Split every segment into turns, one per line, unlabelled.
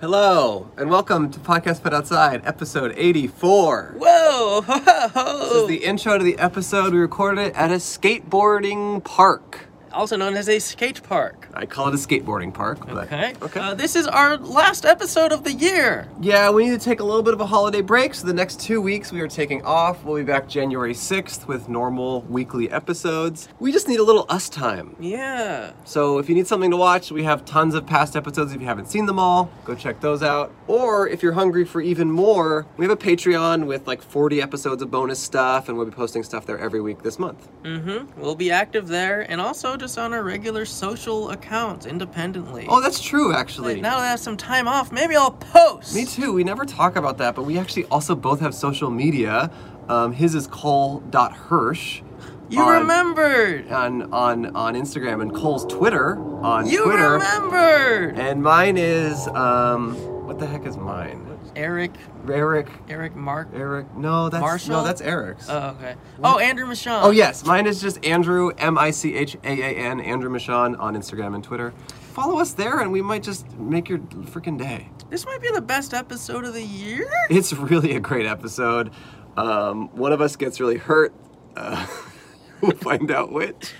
Hello, and welcome to Podcast Put Outside, episode 84.
Whoa! Ho, ho,
This
ho.
is the intro to the episode. We recorded it at a skateboarding park.
also known as a skate park.
I call it a skateboarding park. but-
Okay.
Okay.
Uh, this is our last episode of the year.
yeah, we need to take a little bit of a holiday break. So the next two weeks we are taking off. We'll be back January 6th with normal weekly episodes. We just need a little us time.
Yeah.
So if you need something to watch, we have tons of past episodes. If you haven't seen them all, go check those out. Or if you're hungry for even more, we have a Patreon with like 40 episodes of bonus stuff, and we'll be posting stuff there every week this month.
Mm-hmm. We'll be active there and also just on our regular social accounts independently.
Oh, that's true,
Like,
actually.
now that I have some time off, maybe I'll post.
Me too. We never talk about that, but we actually also both have social media. Um, his is cole.hirsch
You
on-
remembered.
on, on, on Instagram and Cole's Twitter on
you
Twitter.
remembered.
And mine is, um, what the heck is mine?
Eric.
Eric.
Eric Mark.
Eric. No, that's no,
Marshall?
that's Eric's.
Oh, okay. Oh, Andrew Michon.
Oh yes, mine is just Andrew M I C H A A N Andrew Michon on Instagram and Twitter. Follow us there, and we might just make your freaking day.
This might be the best episode of the year.
It's really a great episode. Um, one of us gets really hurt. Uh, we'll find out which.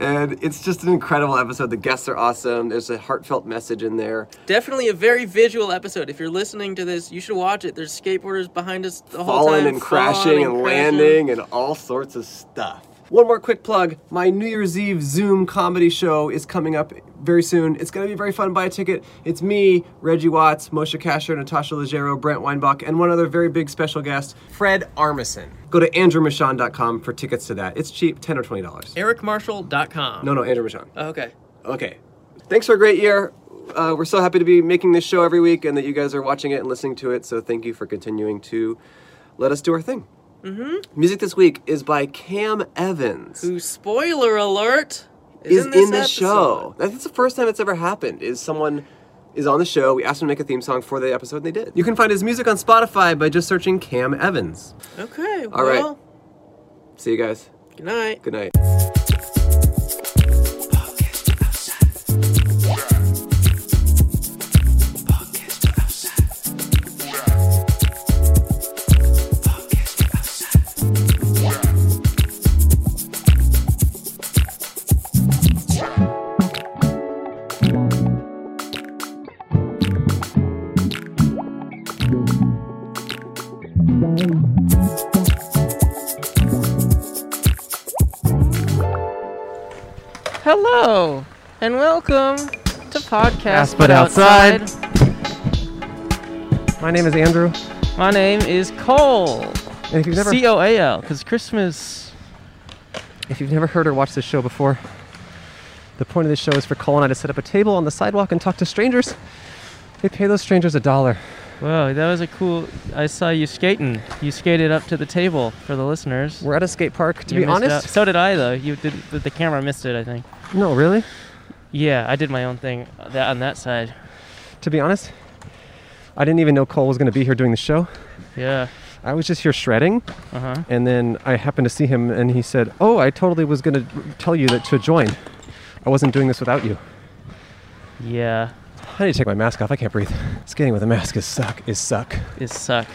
And it's just an incredible episode. The guests are awesome. There's a heartfelt message in there.
Definitely a very visual episode. If you're listening to this, you should watch it. There's skateboarders behind us the whole
falling
time.
and
falling
crashing and,
crashing.
landing and all sorts of stuff. One more quick plug. My New Year's Eve Zoom comedy show is coming up very soon. It's going to be very fun. Buy a ticket. It's me, Reggie Watts, Moshe Kasher, Natasha Leggero, Brent Weinbach, and one other very big special guest, Fred Armisen. Go to andrewmichon.com for tickets to that. It's cheap, $10 or $20.
EricMarshall.com.
No, no, Andrew Michon.
Oh, okay.
Okay. Thanks for a great year. Uh, we're so happy to be making this show every week and that you guys are watching it and listening to it. So thank you for continuing to let us do our thing. Mm-hmm. Music this week is by Cam Evans.
Who, spoiler alert,
is
this
in the show.
episode.
That's the first time it's ever happened. Is someone is on the show. We asked them to make a theme song for the episode, and they did. You can find his music on Spotify by just searching Cam Evans.
Okay.
All right.
well,
See you guys.
Good night.
Good night.
Hello, and welcome to Podcast
Ass But Outside. My name is Andrew,
My name is Cole.
and if you've
C O A L, because Christmas.
If you've never heard or watched this show before, the point of this show is for Cole and I to set up a table on the sidewalk and talk to strangers. They pay those strangers a dollar.
Whoa, that was a cool. I saw you skating. You skated up to the table for the listeners.
We're at a skate park. To
You
be
missed
honest,
out. so did I though. You did. The, the camera missed it, I think.
no, really.
Yeah, I did my own thing uh, that on that side.
To be honest, I didn't even know Cole was going to be here doing the show.
Yeah.
I was just here shredding,
Uh huh.
and then I happened to see him, and he said, "Oh, I totally was going to tell you that to join. I wasn't doing this without you."
Yeah.
I need to take my mask off. I can't breathe. Skating with a mask is suck. Is suck.
It suck.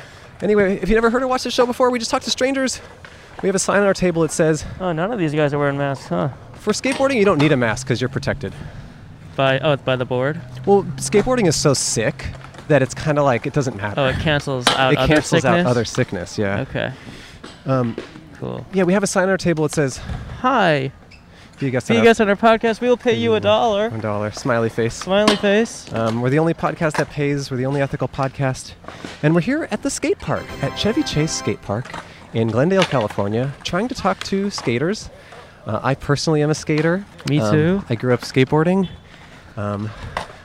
Anyway, if you never heard or watched this show before, we just talk to strangers. We have a sign on our table that says,
Oh, none of these guys are wearing masks, huh?
For skateboarding, you don't need a mask because you're protected.
By oh, it's by the board.
Well, skateboarding is so sick that it's kind of like it doesn't matter.
Oh, it cancels out
it
other
cancels
sickness.
out other sickness. Yeah.
Okay.
Um,
Cool.
yeah, we have a sign on our table that says,
Hi.
"Do you guys
See you guys on our podcast. We'll pay you a dollar.
One dollar, smiley face."
Smiley face.
Um, we're the only podcast that pays. We're the only ethical podcast, and we're here at the skate park at Chevy Chase Skate Park in Glendale, California, trying to talk to skaters. Uh, I personally am a skater.
Me
Um,
too.
I grew up skateboarding. Um,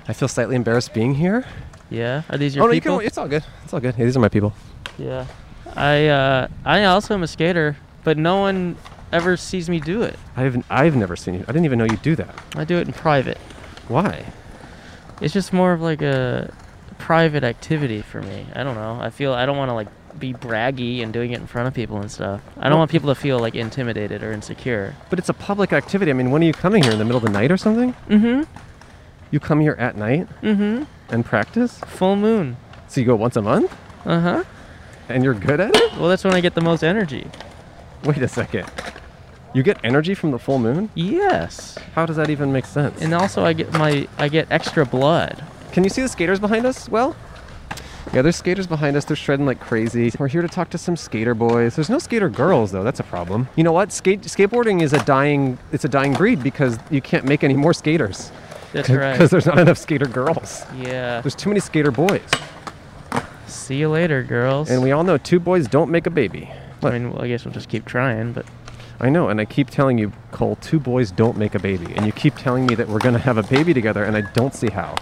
I feel slightly embarrassed being here. Oh,
Yeah. Are these your
no,
people?
You can, it's all good. It's all good. Yeah, these are my people.
yeah. I uh, I also am a skater, but no one ever sees me do it.
I've I've never seen you. I didn't even know you do that.
I do it in private.
Why?
It's just more of like a private activity for me. I don't know. I feel I don't want to like be braggy and doing it in front of people and stuff. I don't
Well-
want people to feel like intimidated or insecure.
But it's a public activity. I mean, when are you coming here in the middle of the night or something?
Mm-hmm.
You come here at night?
Mm-hmm.
and practice?
Full moon.
So you go once a month
Uh huh.
and you're good at it?
Well, that's when I get the most energy.
Wait a second. You get energy from the full moon?
Yes.
How does that even make sense?
And also, I get my I get extra blood.
Can you see the skaters behind us? Well, yeah, there's skaters behind us. They're shredding like crazy. We're here to talk to some skater boys. There's no skater girls though. That's a problem. You know what? Skate skateboarding is a dying. It's a dying breed because you can't make any more skaters.
That's
Because
right.
there's not enough skater girls.
Yeah.
There's too many skater boys,
See you later, girls.
and we all know two boys don't make a baby.
I mean, well, I guess we'll just keep trying, but
I know, and I keep telling you, Cole, two boys don't make a baby, and you keep telling me that we're gonna have a baby together, and I don't see how.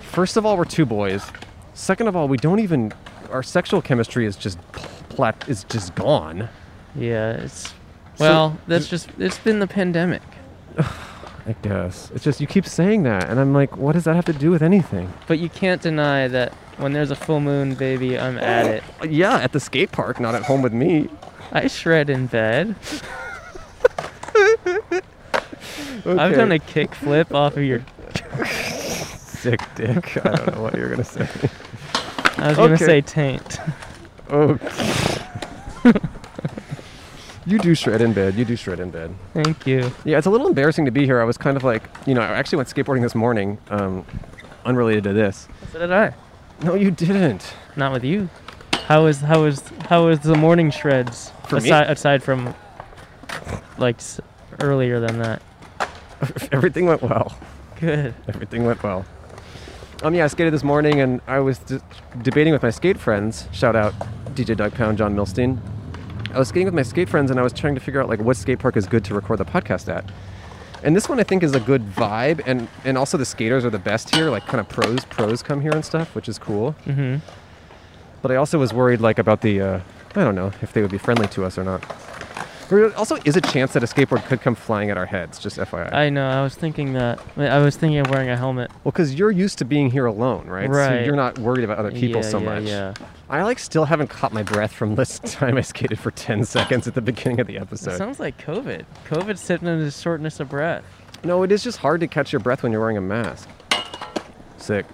First of all, we're two boys. Second of all, we don't even. Our sexual chemistry is just plat is just gone.
yeah, it's.
So-
Well, that's just it's been the pandemic.
I guess it's just you keep saying that, and I'm like, what does that have to do with anything?
But you can't deny that when there's a full moon, baby, I'm at it.
Yeah, at the skate park, not at home with me.
I shred in bed. I've done a kickflip off of your.
sick dick. I don't know what you're gonna say.
I was gonna
Okay.
say taint.
Oh. you do shred in bed. You do shred in bed.
Thank you.
Yeah, it's a little embarrassing to be here. I was kind of like, you know, I actually went skateboarding this morning, um, unrelated to this.
So did I.
No, you didn't.
Not with you. How is how is how is the morning shreds
For me?
aside, aside from like s- earlier than that?
Everything went well.
Good.
Everything went well. Um, yeah, I skated this morning, and I was d- debating with my skate friends. Shout out DJ Doug Pound, John Milstein. I was skating with my skate friends, and I was trying to figure out like what skate park is good to record the podcast at. And this one I think is a good vibe, and and also the skaters are the best here. Like kind of pros, pros come here and stuff, which is cool.
hmm
But I also was worried like about the uh, I don't know if they would be friendly to us or not. There also is a chance that a skateboard could come flying at our heads. Just FYI.
I know. I was thinking that. I was thinking of wearing a helmet.
well, because you're used to being here alone, right? So
Right.
you're not worried about other people
yeah,
so
yeah,
much.
Yeah.
I like still haven't caught my breath from this time I skated for 10 seconds at the beginning of the
It
episode.
sounds like COVID. COVID's sitting in the shortness of breath.
no, it is just hard to catch your breath when you're wearing a mask. Sick.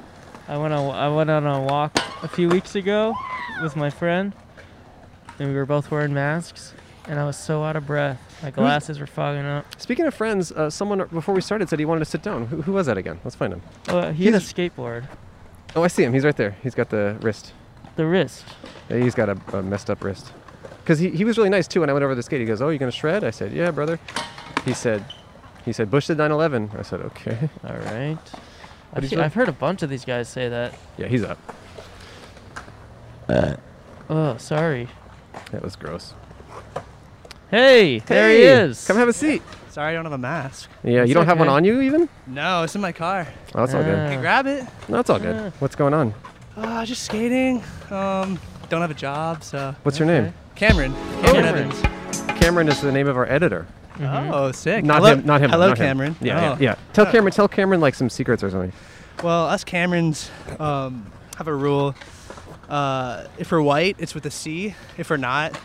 I went on I went on a walk a few weeks ago with my friend, and we were both wearing masks, and I was so out of breath. My glasses were fogging up.
Speaking of friends, uh, someone before we started said he wanted to sit down. Who, who was that again? Let's find him.
Oh, he had a
uh, He's-
skateboard.
Oh, I see him. He's right there. He's got the wrist.
The wrist.
Yeah, he's got a, a messed up wrist. Because he, he was really nice too. When I went over to the skate, he goes, "Oh, you gonna shred?" I said, "Yeah, brother." He said, "He said Bush did 9/11." I said, "Okay."
All right.
What
I've,
is
se-
that?
I've heard a bunch of these guys say that.
Yeah, he's up.
Oh, sorry.
That was gross.
Hey, there he
Hey,
is.
Come have a seat.
Sorry, I don't have a mask.
Yeah,
It's
you don't have one
okay.
on you even.
No, it's in my car.
Oh, that's all
Ah.
good.
Can I grab it?
No, it's all
Ah.
good. What's going on?
Uh, just skating. Um, don't have a job, so.
What's your name?
Cameron. Oh, Cameron Evans.
Cameron is the name of our editor.
Oh, sick.
Not
hello,
him. Not him.
Hello,
not him.
Cameron.
Yeah,
Oh.
yeah, yeah. Tell Cameron. Tell Cameron like some secrets or something.
Well, us Camerons um, have a rule. Uh, if we're white, it's with a C. If we're not,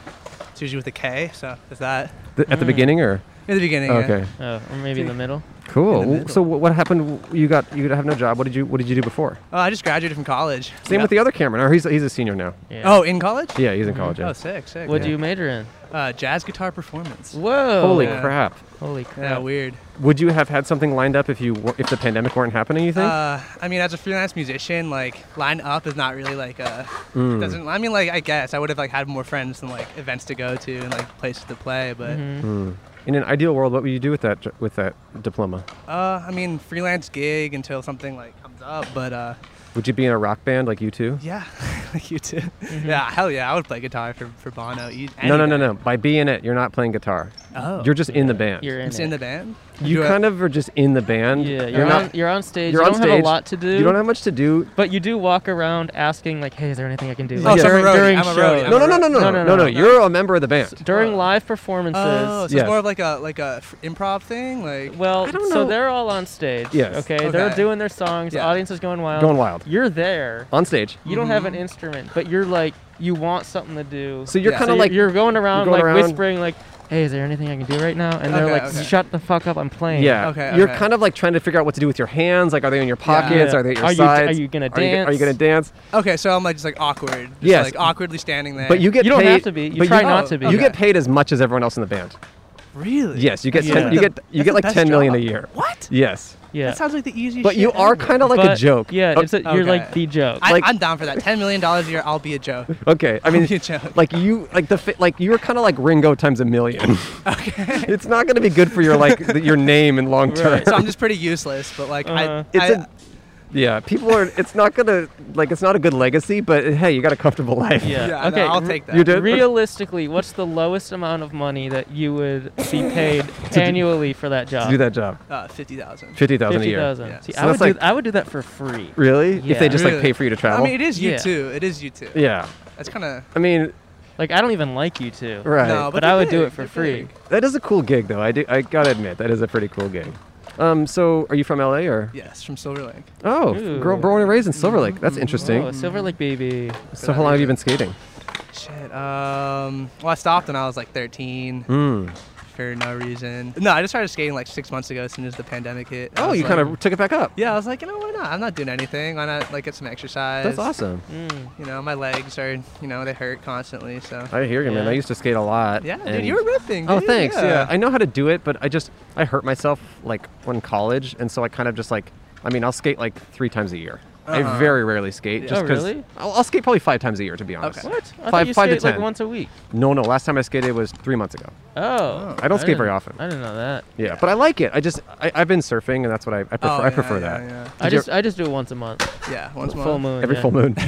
it's usually with a K. So is that
Th- at the beginning or?
in the beginning? Hmm. yeah.
Okay.
Oh, or maybe in the middle.
Cool. W-
middle.
So wh- what happened? You got you have no job. What did you What did you do before?
Oh, I just graduated from college.
Same with the other Cameron. Or he's he's a senior now.
Yeah.
Oh, in college?
Yeah, he's in college. yeah.
Oh, sick, sick.
What
yeah.
do you major in?
Uh, jazz guitar performance.
Whoa.
Holy
yeah.
crap!
Holy crap.
Yeah, weird.
Would you have had something lined up if you w- if the pandemic weren't happening? You think?
Uh, I mean, as a freelance musician, like line up is not really like a
Mm.
doesn't. I mean, like I guess I would have like had more friends and like events to go to and like places to play. But
Mm-hmm.
Mm-hmm.
in an ideal world, what would you do with that j- with that diploma?
uh, I mean, freelance gig until something like comes up. But uh,
Would you be in a rock band like you two?
yeah, like you too. Yeah, hell yeah, I would play guitar for for Bono. e- any
Mm-hmm. No, no, no,
day.
no. By being it, you're not playing guitar.
Oh,
You're just in the band.
You're in
it's
it.
in the band.
you
Do I-
kind of are just in the band.
Yeah, you're,
you're
on,
not.
you're on stage.
You're
you
on
don't
stage.
have a lot to do.
You don't have much to do.
But you do walk around asking, like, "Hey, is there anything I can do?"
Oh,
Like,
so I'm a
during,
roadie,
during
I'm a roadie,
shows.
I'm
No, no, no, no, no, no, no, no. You're a member of the band.
During live performances.
Oh, so
Yeah.
it's more of like a like a f- improv thing. Like
well,
I don't
so
know.
they're all on stage.
Yes.
Okay, they're
Okay.
doing their songs.
Yeah.
Audience is going wild.
Going wild.
You're there.
On stage.
You don't have an instrument, but you're like, you want something to do.
So you're
Yeah.
kind
So
of
you're-
like
you're going around
going
like
around.
whispering like hey, is there anything I can do right now? And they're
Okay,
like,
okay.
shut the fuck up, I'm playing.
Yeah.
Okay,
You're
okay.
kind of like trying to figure out what to do with your hands. Like, are they in your pockets?
Yeah.
Are they at your
Are you- are
sides?
you gonna
Are you, are you
dance?
gonna dance?
Okay, so I'm like just like awkward. Just
Yes.
like awkwardly standing there.
But you get
You don't
paid.
have to be. You
but
try
not to be.
You get
Okay.
paid as much as everyone else in the band.
really?
Yes, you get
Yeah.
ten, you get you
That's
get
the
like
best
ten million
job.
a year.
What?
Yes,
Yeah.
That sounds like the easiest.
but you
shit
are
ever.
kind of like a
But,
joke.
Yeah,
O-
it's a, you're
okay.
like the joke.
I,
like-
I'm down for that. Ten million dollars a year, I'll be a joke.
okay. I mean,
You're a joke.
like you like the fi- like you were kind of like Ringo times a million.
Okay.
it's not going to be good for your like th- your name in long term.
Right.
so I'm just pretty useless, but like
Uh-huh.
I,
It's
I-
a- yeah, people are. It's not going to like it's not a good legacy. But hey, you got a comfortable life.
Yeah.
yeah,
Okay,
no, I'll
r-
take that.
you did-
Realistically, what's the lowest amount of money that you would be paid annually for that job?
to do that job,
uh, fifty thousand.
fifty thousand a
Fifty
year.
thousand.
Yeah.
See,
So
I would
that's
do.
like-
I would do that for free.
Really? If
Yeah.
they just like pay for you to travel.
I mean, it is you
Yeah.
too. It is you too.
yeah.
That's kind of.
I mean,
Like I don't even like you two.
right.
No,
But,
Oh, But
I
they're
would do
big,
it for
they're
free.
big.
That is a cool gig, though. I do. I gotta admit, that is a pretty cool gig. Um, so are you from LA or?
Yes, from Silver Lake.
Oh,
Ooh.
girl, born and raised in Silver Lake. That's interesting.
Oh, Silver Lake baby.
so how long have you been skating?
Shit. Um. Well, I stopped when I was like 13
Mm.
for no reason. No, I just started skating like six months ago as soon as the pandemic hit. I
Oh,
was
you
like-
kind of took it back up.
Yeah, I was like, you know, why not? I'm not doing anything. Why not like get some exercise?
That's awesome.
Mm.
You know, my legs are, you know, they hurt constantly. So.
I hear you, man.
Yeah.
I used to skate a lot.
yeah, dude,
and-
you were ripping.
Oh,
dude,
thanks. Yeah.
Yeah.
I know how to do it, but I just I hurt myself like when college, and so I kind of just like I mean I'll skate like three times a year. I
Uh-huh.
very rarely skate.
Yeah.
Just
Oh,
'cause-
really?
I'll, I'll skate probably five times a year to be honest.
Okay.
What? I thought
Five-
you
five to
skate like
10.
once a week.
No, no. Last time I skated was three months ago.
Oh.
I don't skate
didn't-
very often.
I didn't know that.
Yeah, but I like it. I just I, I've been surfing, and that's what I, I prefer.
Oh,
I prefer
yeah,
that.
Yeah,
I
Did you-
just I just do it once a month.
yeah. yeah once more.
full moon.
Every
Oh, yeah.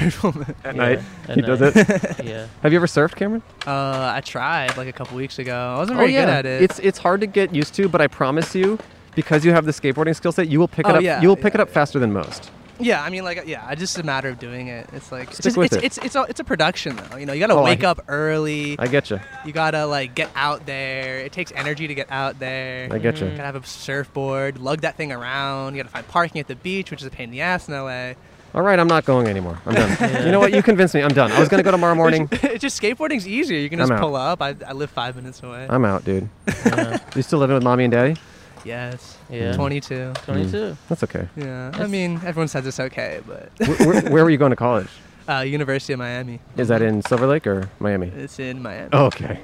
full moon
Yeah,
at night,
at
he does
night.
it.
yeah.
Have you ever surfed, Cameron?
Uh, I tried like a couple weeks ago. I wasn't very good at it.
Oh, It's it's hard to get used to, but I promise you, because you have the skateboarding skill set, you will pick it
Oh,
up.
yeah,
you will pick
yeah,
it up
yeah.
faster than most.
yeah, I mean, like, yeah, it's just a matter of doing it. It's like
Stick
it's,
with
it's,
it.
it's it's a it's a production though. You know, you gotta
Oh, I-
wake up early.
I get you.
you gotta like get out there. It takes energy to get out there.
I get you.
gotta have a surfboard, lug that thing around. You gotta find parking at the beach, which is a pain in the ass in LA.
All right, I'm not going anymore. I'm done.
Yeah.
You know what? You convinced me. I'm done. I was gonna go tomorrow morning.
it's just skateboarding's easier. You can
I'm
just
out. Uh,
pull up. I, I live five minutes away.
I'm out, dude.
Yeah.
You still living with mommy and daddy?
yes.
Yeah.
22.
22.
That's okay.
Yeah. I
That's-
mean, everyone says it's okay, but
Wh- where, where were you going to college?
uh, University of Miami.
Is that in Silver Lake or Miami?
It's in Miami.
Oh, okay.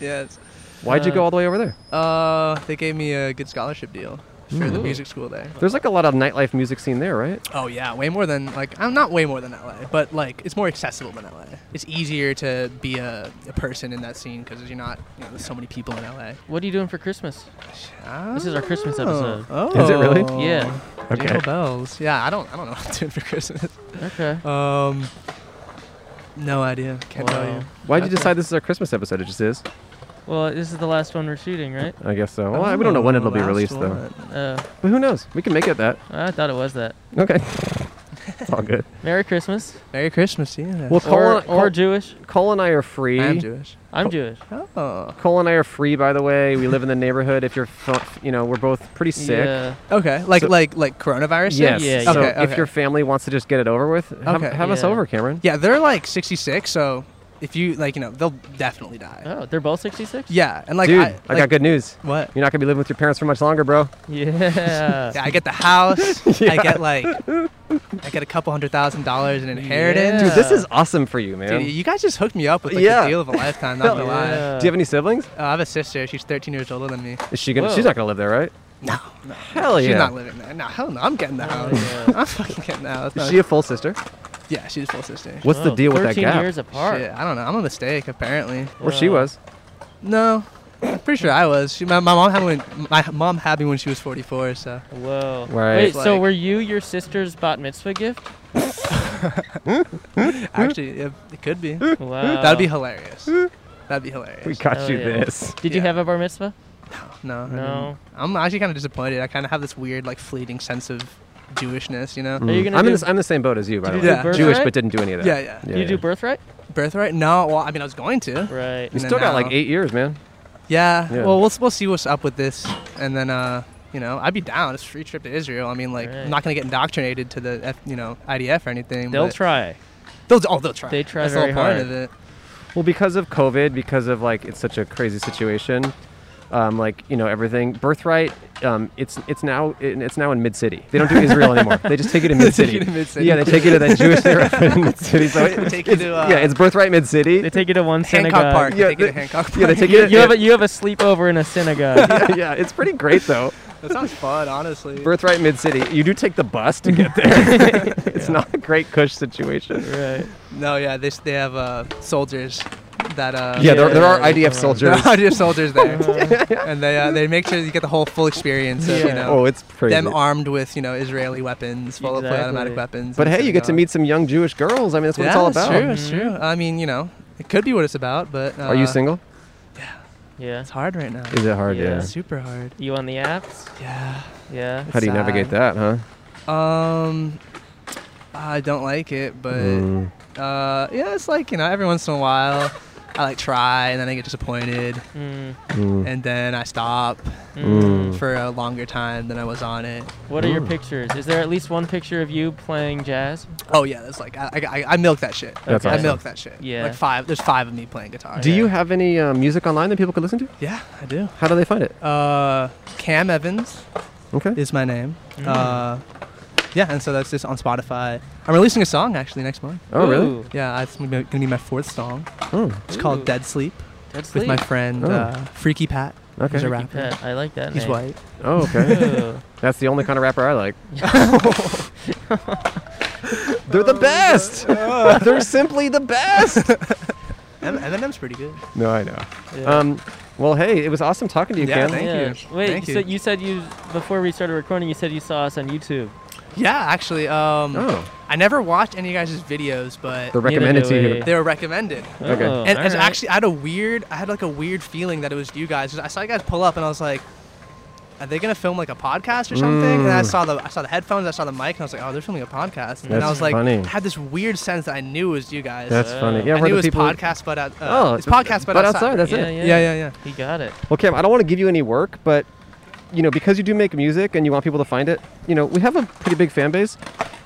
Yes.
Why'd you
Uh,
go all the way over there?
Uh, they gave me a good scholarship deal for the
Ooh.
music school there.
There's like a lot of nightlife music scene there, right?
Oh yeah, way more than like I'm not way more than LA, but like it's more accessible than LA. It's easier to be a, a person in that scene because you're not you know there's so many people in LA.
What are you doing for Christmas?
This
is our Christmas episode.
Oh,
Is it really?
Yeah.
Okay.
Jingle bells. Yeah, I don't I don't know what I'm doing for Christmas.
Okay.
Um, no idea. Can't tell
Wow.
you.
Why'd you
Okay.
decide this is our Christmas episode? It just is.
Well, this is the last one we're shooting, right?
I guess so. Well, I- we don't know when
Oh,
it'll be
last
released though.
one.
Uh,
But who knows? We can make it that.
I thought it was that.
Okay. it's all good.
Merry Christmas.
Merry Christmas. Yeah.
Well, Cole,
Or,
and-
or
Cole-
Jewish.
Cole and I are free.
I'm Jewish.
I'm
Col-
Jewish.
Oh.
Cole and I are free, by the way. We live in the neighborhood. If you're, fu- you know, we're both pretty sick.
Yeah.
Okay. Like
So-
like like coronavirus. thing?
Yes.
Yeah,
so
yeah. Okay,
if your
okay.
family wants to just get it over with, have,
Okay.
have us
Yeah.
over, Cameron.
Yeah, they're like 66, so if you like, you know, they'll definitely die.
Oh, they're both 66?
Yeah, and like
Dude,
I,
I,
like,
got good news.
What?
You're not gonna be living with your parents for much longer, bro.
Yeah.
Yeah, I get the house. I get like, I get a couple hundred thousand dollars in inheritance.
Dude, this
Yeah.
is awesome for you, man.
Dude, you guys just hooked me up with like
Yeah.
the deal of a lifetime. Not gonna lie.
Yeah.
Do you have any siblings?
Uh, I have a sister. She's 13 years older than me.
Is she gonna?
Whoa.
She's not gonna live there, right?
No, no,
Hell
she's
yeah.
not living there. No, hell no. I'm getting the
Oh,
house.
yeah.
I'm fucking getting the house.
Is
No,
she a full sister?
yeah, she's a full sister.
What's the
Wow,
deal with that
13
gap?
Oh, years uh, apart.
Shit, I don't know. I'm a mistake apparently.
Or she
Wow.
was.
No, I'm pretty sure I was. She, my, my mom had me when my mom had me when she was 44. So
Whoa.
Right.
Wait, so
Like-
were you your sister's bat mitzvah gift?
actually, it, it could be.
Wow.
That'd be hilarious. That'd be hilarious.
We got
Hell
you
Oh, yeah.
this.
Did you
yeah.
have a bar mitzvah?
No.
No.
I didn't. I'm actually kind of disappointed. I kind of have this weird, like, fleeting sense of Jewishness, you know?
Are you gonna
Mm. I'm,
do,
in the, I'm the same boat as you, by the way.
Did
you do Yeah. birthright?
Jewish, but didn't do any of that.
Yeah, yeah.
do you do birthright?
Birthright? No. Well, I mean, I was going to.
Right.
You
And
still
then
got like
now-
eight years, man.
Yeah.
Yeah.
Well, we'll we'll see what's up with this, and then uh, you know, I'd be down. It's a free trip to Israel. I mean, like,
Right.
I'm not gonna get indoctrinated to the F, you know IDF or anything.
They'll
but
try.
They'll oh, they'll try.
They try
That's
very
the whole point
hard.
of it.
Well, because of COVID, because of like it's such a crazy situation, um, like you know everything. Birthright, um, it's it's now it, it's now in mid city. They don't do Israel anymore. They just take it in mid
Take
city.
it to Mid-City.
Yeah, they take you to that Jewish neighborhood in mid city. So it,
Take you to, uh,
yeah, it's birthright mid city.
They take you to one synagogue.
Hancock Park.
Yeah,
take you to
the-
Hancock Park.
yeah, they take
You,
you.
you have a, you have a sleepover in a synagogue.
yeah, yeah, it's pretty great though.
That sounds fun, honestly.
Birthright mid city. You do take the bus to get there. it's not a great cush situation.
right.
No, yeah, they s- they have uh, soldiers that uh.
Yeah, there, there are
Yeah,
IDF
yeah.
There
soldiers.
are IDF soldiers there,
Uh-huh.
and they uh, they make sure you get the whole full experience of you
Yeah.
know
Oh, it's crazy.
them armed with you know Israeli weapons, full of automatic
Exactly.
weapons.
But
and
hey, you get to
synagogue.
meet some young Jewish girls. I mean, that's what
yeah,
it's all about.
It's true. It's true. I mean, you know, it could be what it's about, but uh,
Are you single?
Yeah.
It's hard right now.
Is it hard?
Yeah.
Yeah.
It's super hard.
You on the apps?
Yeah.
Yeah.
How do you
sad.
navigate that, huh?
Um, I don't like it, but
Mm.
uh, yeah, it's like you know, every once in a while, I like try, and then I get disappointed,
Mm,
Mm.
and then I stop
mm.
Mm.
for a longer time than I was on it.
What are your
Ooh.
pictures? Is there at least one picture of you playing jazz?
Oh yeah, that's like I, I, I milk that shit.
That's
I
awesome.
milk that shit.
Yeah.
Like five. There's five of me playing guitar.
Do
yeah.
you have any uh, music online that people could listen to?
Yeah, I do.
How do they find it?
Uh, Cam Evans
Okay.
is my name.
Mm.
Uh, yeah, and so that's just on Spotify. I'm releasing a song actually next month.
Oh, really?
Ooh,
Yeah, it's gonna be- gonna be my fourth song.
Oh,
It's
Ooh.
called Dead Sleep
That's
with my
Lee.
friend
Oh.
uh, Freaky Pat.
okay.
He's a
Keep
rapper.
that. I like that.
He's
name.
white.
Oh, okay.
Ooh.
That's the only kind of rapper I like. They're the
Oh,
best. They're simply the best.
Em- Eminem's pretty good.
No, I know.
Yeah.
Um, well, hey, it was awesome talking to you,
Yeah,
Ken.
thank
Yeah.
you.
Wait,
Thank
so
you.
you said you before we started recording, you said you saw us on YouTube.
Yeah, actually, um,
Oh,
I never watched any of you guys' videos, but
they're
Neither
recommended
do
to
we.
you.
they were recommended.
Okay.
Oh,
and and
alright.
actually, I had a weird, I had like a weird feeling that it was you guys. 'cause I saw you guys pull up, and I was like, "Are they gonna film like a podcast or something?" And I
Mm.
saw the, I saw the headphones, I saw the mic, and I was like, "Oh, they're filming a podcast." and I
That's
was like,
funny.
I had this weird sense that I knew it was you guys.
That's
Uh,
funny. Yeah,
I
we're
knew it
the
was
people.
podcast, but out, uh,
oh,
it's podcast, but, outside.
That's
yeah,
it.
yeah,
Yeah, yeah, yeah.
He got it.
Well, Cam, I don't want to give you any work, but you know, because you do make music and you want people to find it, you know, we have a pretty big fan base.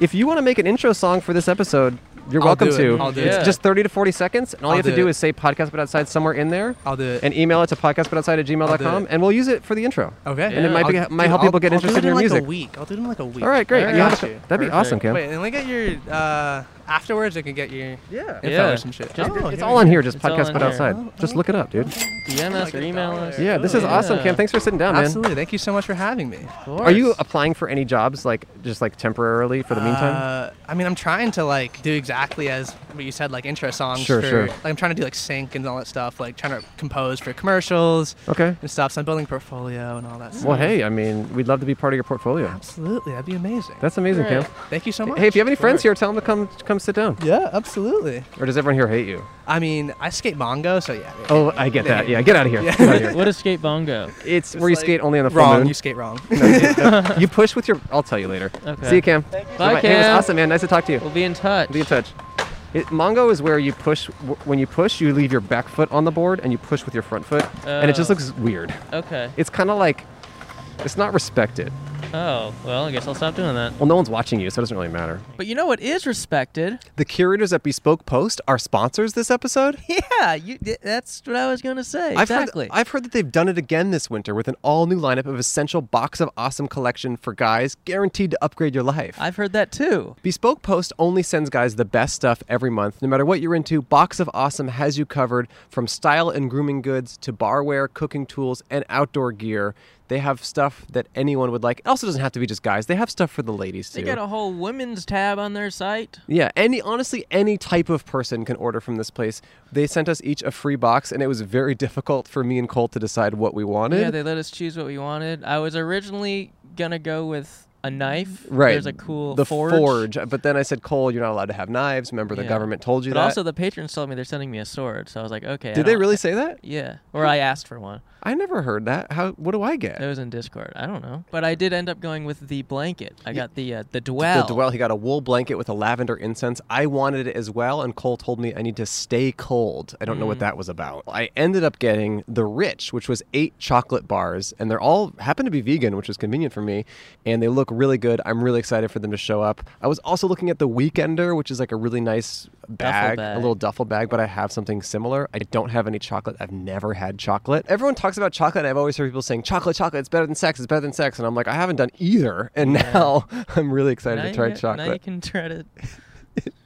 If you want to make an intro song for this episode, you're
I'll
welcome
do it.
to.
I'll do
it. Yeah.
It's just 30 to 40 seconds, and all
I'll
you have to
do
do
it.
is say podcast but outside somewhere in there
I'll do it.
and email it to podcastbutoutside at
I'll do
gmail.com,
it.
and we'll use it for the intro.
okay.
And it
might be- might help people get interested in your
I'll do it in like
music.
a week. I'll do it in like a week.
All right, great.
Alright.
You have
Got
to-
you.
that'd be awesome, Cam.
Wait, and we get your uh, afterwards. I can get your
Yeah.
info
Yeah. Oh,
or some shit.
Just-
It's all on Oh, here, just
It's all
podcast
on
but
here. Oh,
outside. Just look it up, dude.
DM us or email us.
Yeah, this is
Yeah.
awesome, Cam. Thanks for sitting down, man.
Absolutely. Thank you so much for having me.
Of
Are you
course.
applying for any jobs, like just like temporarily for the meantime?
Uh, I mean, I'm trying to like do exactly as what you said, like intro songs.
Sure,
for,
sure.
Like I'm trying to do like sync and all that stuff, like trying to compose for commercials
Okay.
and stuff. So I'm building portfolio and all that. stuff.
Well, hey, I mean, we'd love to be part of your portfolio.
Absolutely, that'd be amazing.
That's amazing,
Right.
Cam.
Thank you so much.
Hey, if you have any friends
Sure.
here, tell them to come come sit down.
yeah, absolutely.
Or does everyone here hate you?
I mean, I skate Mongo, so yeah.
Oh, I get that.
that.
Yeah, get out of here.
Yeah.
Get outta here.
What is skate bongo?
It's,
It's
where you
like
skate only on the full
wrong.
moon.
You skate wrong.
You push with your. I'll tell you later.
Okay.
See you, Cam.
Bye,
Hey, it was
Cam.
awesome, man. Nice to talk to you.
We'll be in touch.
Be in touch. It, Mongo is where you push. w- When you push, you leave your back foot on the board and you push with your front foot, and it just
Oh.
looks weird.
Okay.
It's kind of like, it's not respected.
Oh well, I guess I'll stop doing that.
Well, no one's watching you, so it doesn't really matter.
But you know what is respected?
The curators at Bespoke Post are sponsors this episode.
Yeah, you. That's what I was gonna say. exactly.
I've heard, I've heard that they've done it again this winter with an all new lineup of essential box of awesome collection for guys guaranteed to upgrade your life.
I've heard that too.
Bespoke Post only sends guys the best stuff every month. No matter what you're into, Box of Awesome has you covered from style and grooming goods to barware, cooking tools, and outdoor gear. They have stuff that anyone would like. It also doesn't have to be just guys, they have stuff for the ladies too.
They got a whole women's tab on their site.
Yeah, any honestly, any type of person can order from this place. They sent us each a free box, and it was very difficult for me and Colt to decide what we wanted.
Yeah, they let us choose what we wanted. I was originally gonna go with a knife.
right.
There's a cool
the
forge.
but then I said, Cole, you're not allowed to have knives. Remember, the
Yeah.
government told you
But
that.
also, the patrons told me they're sending me a sword, so I was like, okay. I
Did they
don't-
really say that?
Yeah. Or I asked for one.
I never heard that. How? What do I get?
It was in Discord. I don't know. But I did end up going with the blanket. I got the uh, the
The
dwell.
dwell. He got a wool blanket with a lavender incense. I wanted it as well, and Cole told me I need to stay cold. I don't know what that was about. I ended up getting the rich, which was eight chocolate bars, and they're all happened to be vegan, which was convenient for me, and they look look really good. I'm really excited for them to show up. I was also looking at the Weekender, which is like a really nice bag,
bag.
a little duffel bag, but I have something similar. I don't have any chocolate. I've never had chocolate. Everyone talks about chocolate. and I've always heard people saying chocolate, chocolate. It's better than sex. It's better than sex. And I'm like, I haven't done either. And now I'm really excited
now
to try
you, get- Now you
chocolate.
can try to.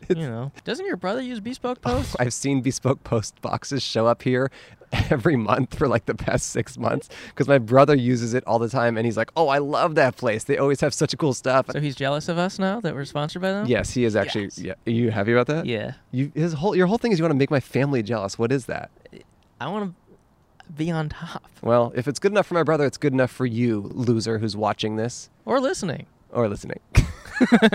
you know, doesn't your brother use Bespoke Post?
I've seen bespoke post boxes show up here every month for like the past six months because my brother uses it all the time and he's like, Oh, I love that place. They always have such cool stuff.
so he's jealous of us now that we're sponsored by them.
yes, he is actually.
Yes.
Yeah, are you happy about that?
Yeah.
You, his whole, your whole thing is you want to make my family jealous. What is that?
I want to be on top
Well, if it's good enough for my brother, it's good enough for you, loser who's watching this
or listening.
or listening.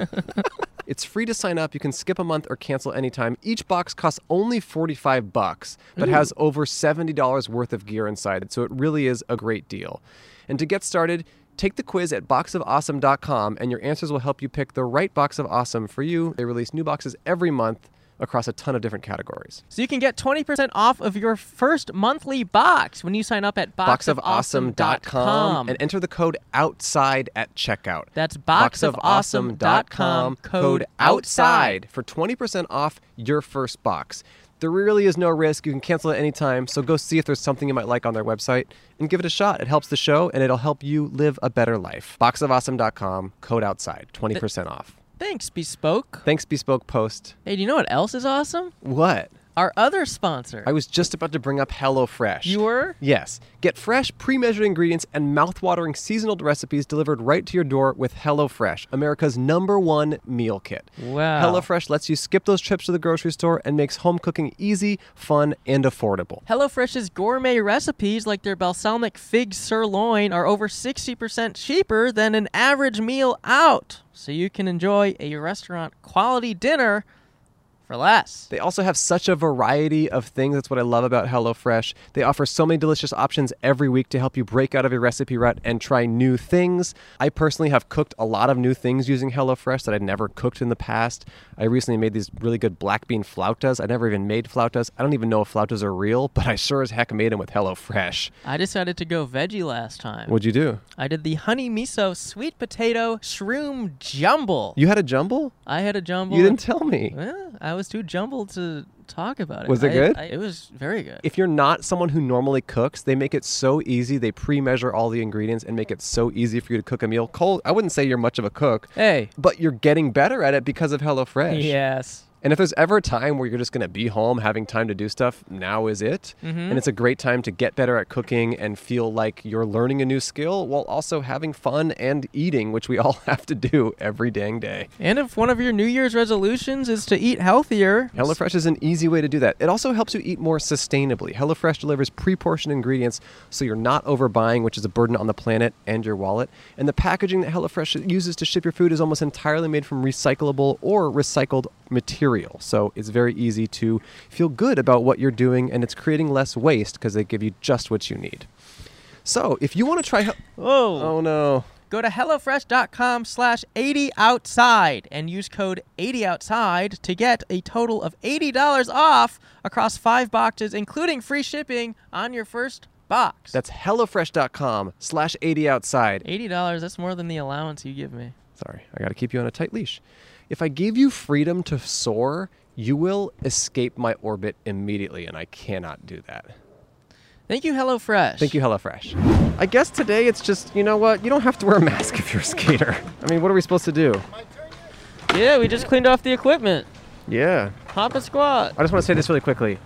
It's free to sign up. You can skip a month or cancel anytime. Each box costs only 45 bucks, but has over $70 worth of gear inside. So it really is a great deal. And to get started, take the quiz at boxofawesome.com and your answers will help you pick the right box of awesome for you. They release new boxes every month across a ton of different categories.
So you can get 20% off of your first monthly box when you sign up at boxofawesome.com.
boxofawesome.com and enter the code outside at checkout.
That's
boxofawesome.com
boxofawesome.com
code outside for 20% off your first box. There really is no risk. You can cancel at any time. So go see if there's something you might like on their website and give it a shot. It helps the show and it'll help you live a better life. Boxofawesome.com code outside, 20% off.
Thanks, Bespoke.
Thanks, Bespoke Post.
Hey, do you know what else is awesome?
What?
Our other sponsor.
I was just about to bring up HelloFresh.
you were?
Yes. Get fresh, pre measured ingredients and mouth-watering seasonal recipes delivered right to your door with HelloFresh, America's number one meal kit.
Wow.
HelloFresh lets you skip those trips to the grocery store and makes home cooking easy, fun, and affordable.
HelloFresh's gourmet recipes, like their balsamic fig sirloin, are over 60% cheaper than an average meal out. So you can enjoy a restaurant quality dinner for less.
They also have such a variety of things. That's what I love about HelloFresh. They offer so many delicious options every week to help you break out of your recipe rut and try new things. I personally have cooked a lot of new things using HelloFresh that I'd never cooked in the past. I recently made these really good black bean flautas. I never even made flautas. I don't even know if flautas are real, but I sure as heck made them with HelloFresh.
I decided to go veggie last time.
What'd you do?
I did the honey miso sweet potato shroom jumble.
You had a jumble?
I had a jumble.
You didn't tell me.
Well, I was too jumbled to talk about it.
Was it
I-
good?
I- it was very good.
if you're not someone who normally cooks, they make it so easy. They pre-measure all the ingredients and make it so easy for you to cook a meal. Cole, I wouldn't say you're much of a cook,
hey.
but you're getting better at it because of HelloFresh.
Yes.
And if there's ever a time where you're just going to be home having time to do stuff, now is it. And it's a great time to get better at cooking and feel like you're learning a new skill while also having fun and eating, which we all have to do every dang day.
And if one of your New Year's resolutions is to eat healthier,
HelloFresh is an easy way to do that. It also helps you eat more sustainably. HelloFresh delivers pre-portioned ingredients so you're not overbuying, which is a burden on the planet and your wallet. And the packaging that HelloFresh uses to ship your food is almost entirely made from recyclable or recycled material. So it's very easy to feel good about what you're doing and it's creating less waste because they give you just what you need. So if you want to try Hel-
whoa,
Oh no.
go to hellofresh.com slash 80 outside and use code 80 outside to get a total of $80 off across five boxes, including free shipping on your first box.
That's HelloFresh.com slash 80 outside.
$80, that's more than the allowance you give me.
Sorry, I got to keep you on a tight leash. If I give you freedom to soar, you will escape my orbit immediately, and I cannot do that.
Thank you, HelloFresh.
Thank you, HelloFresh. I guess today it's just, you know what? You don't have to wear a mask if you're a skater. I mean, what are we supposed to do?
Yeah, we just cleaned off the equipment.
Yeah.
Hop and squat.
I just want to say this really quickly.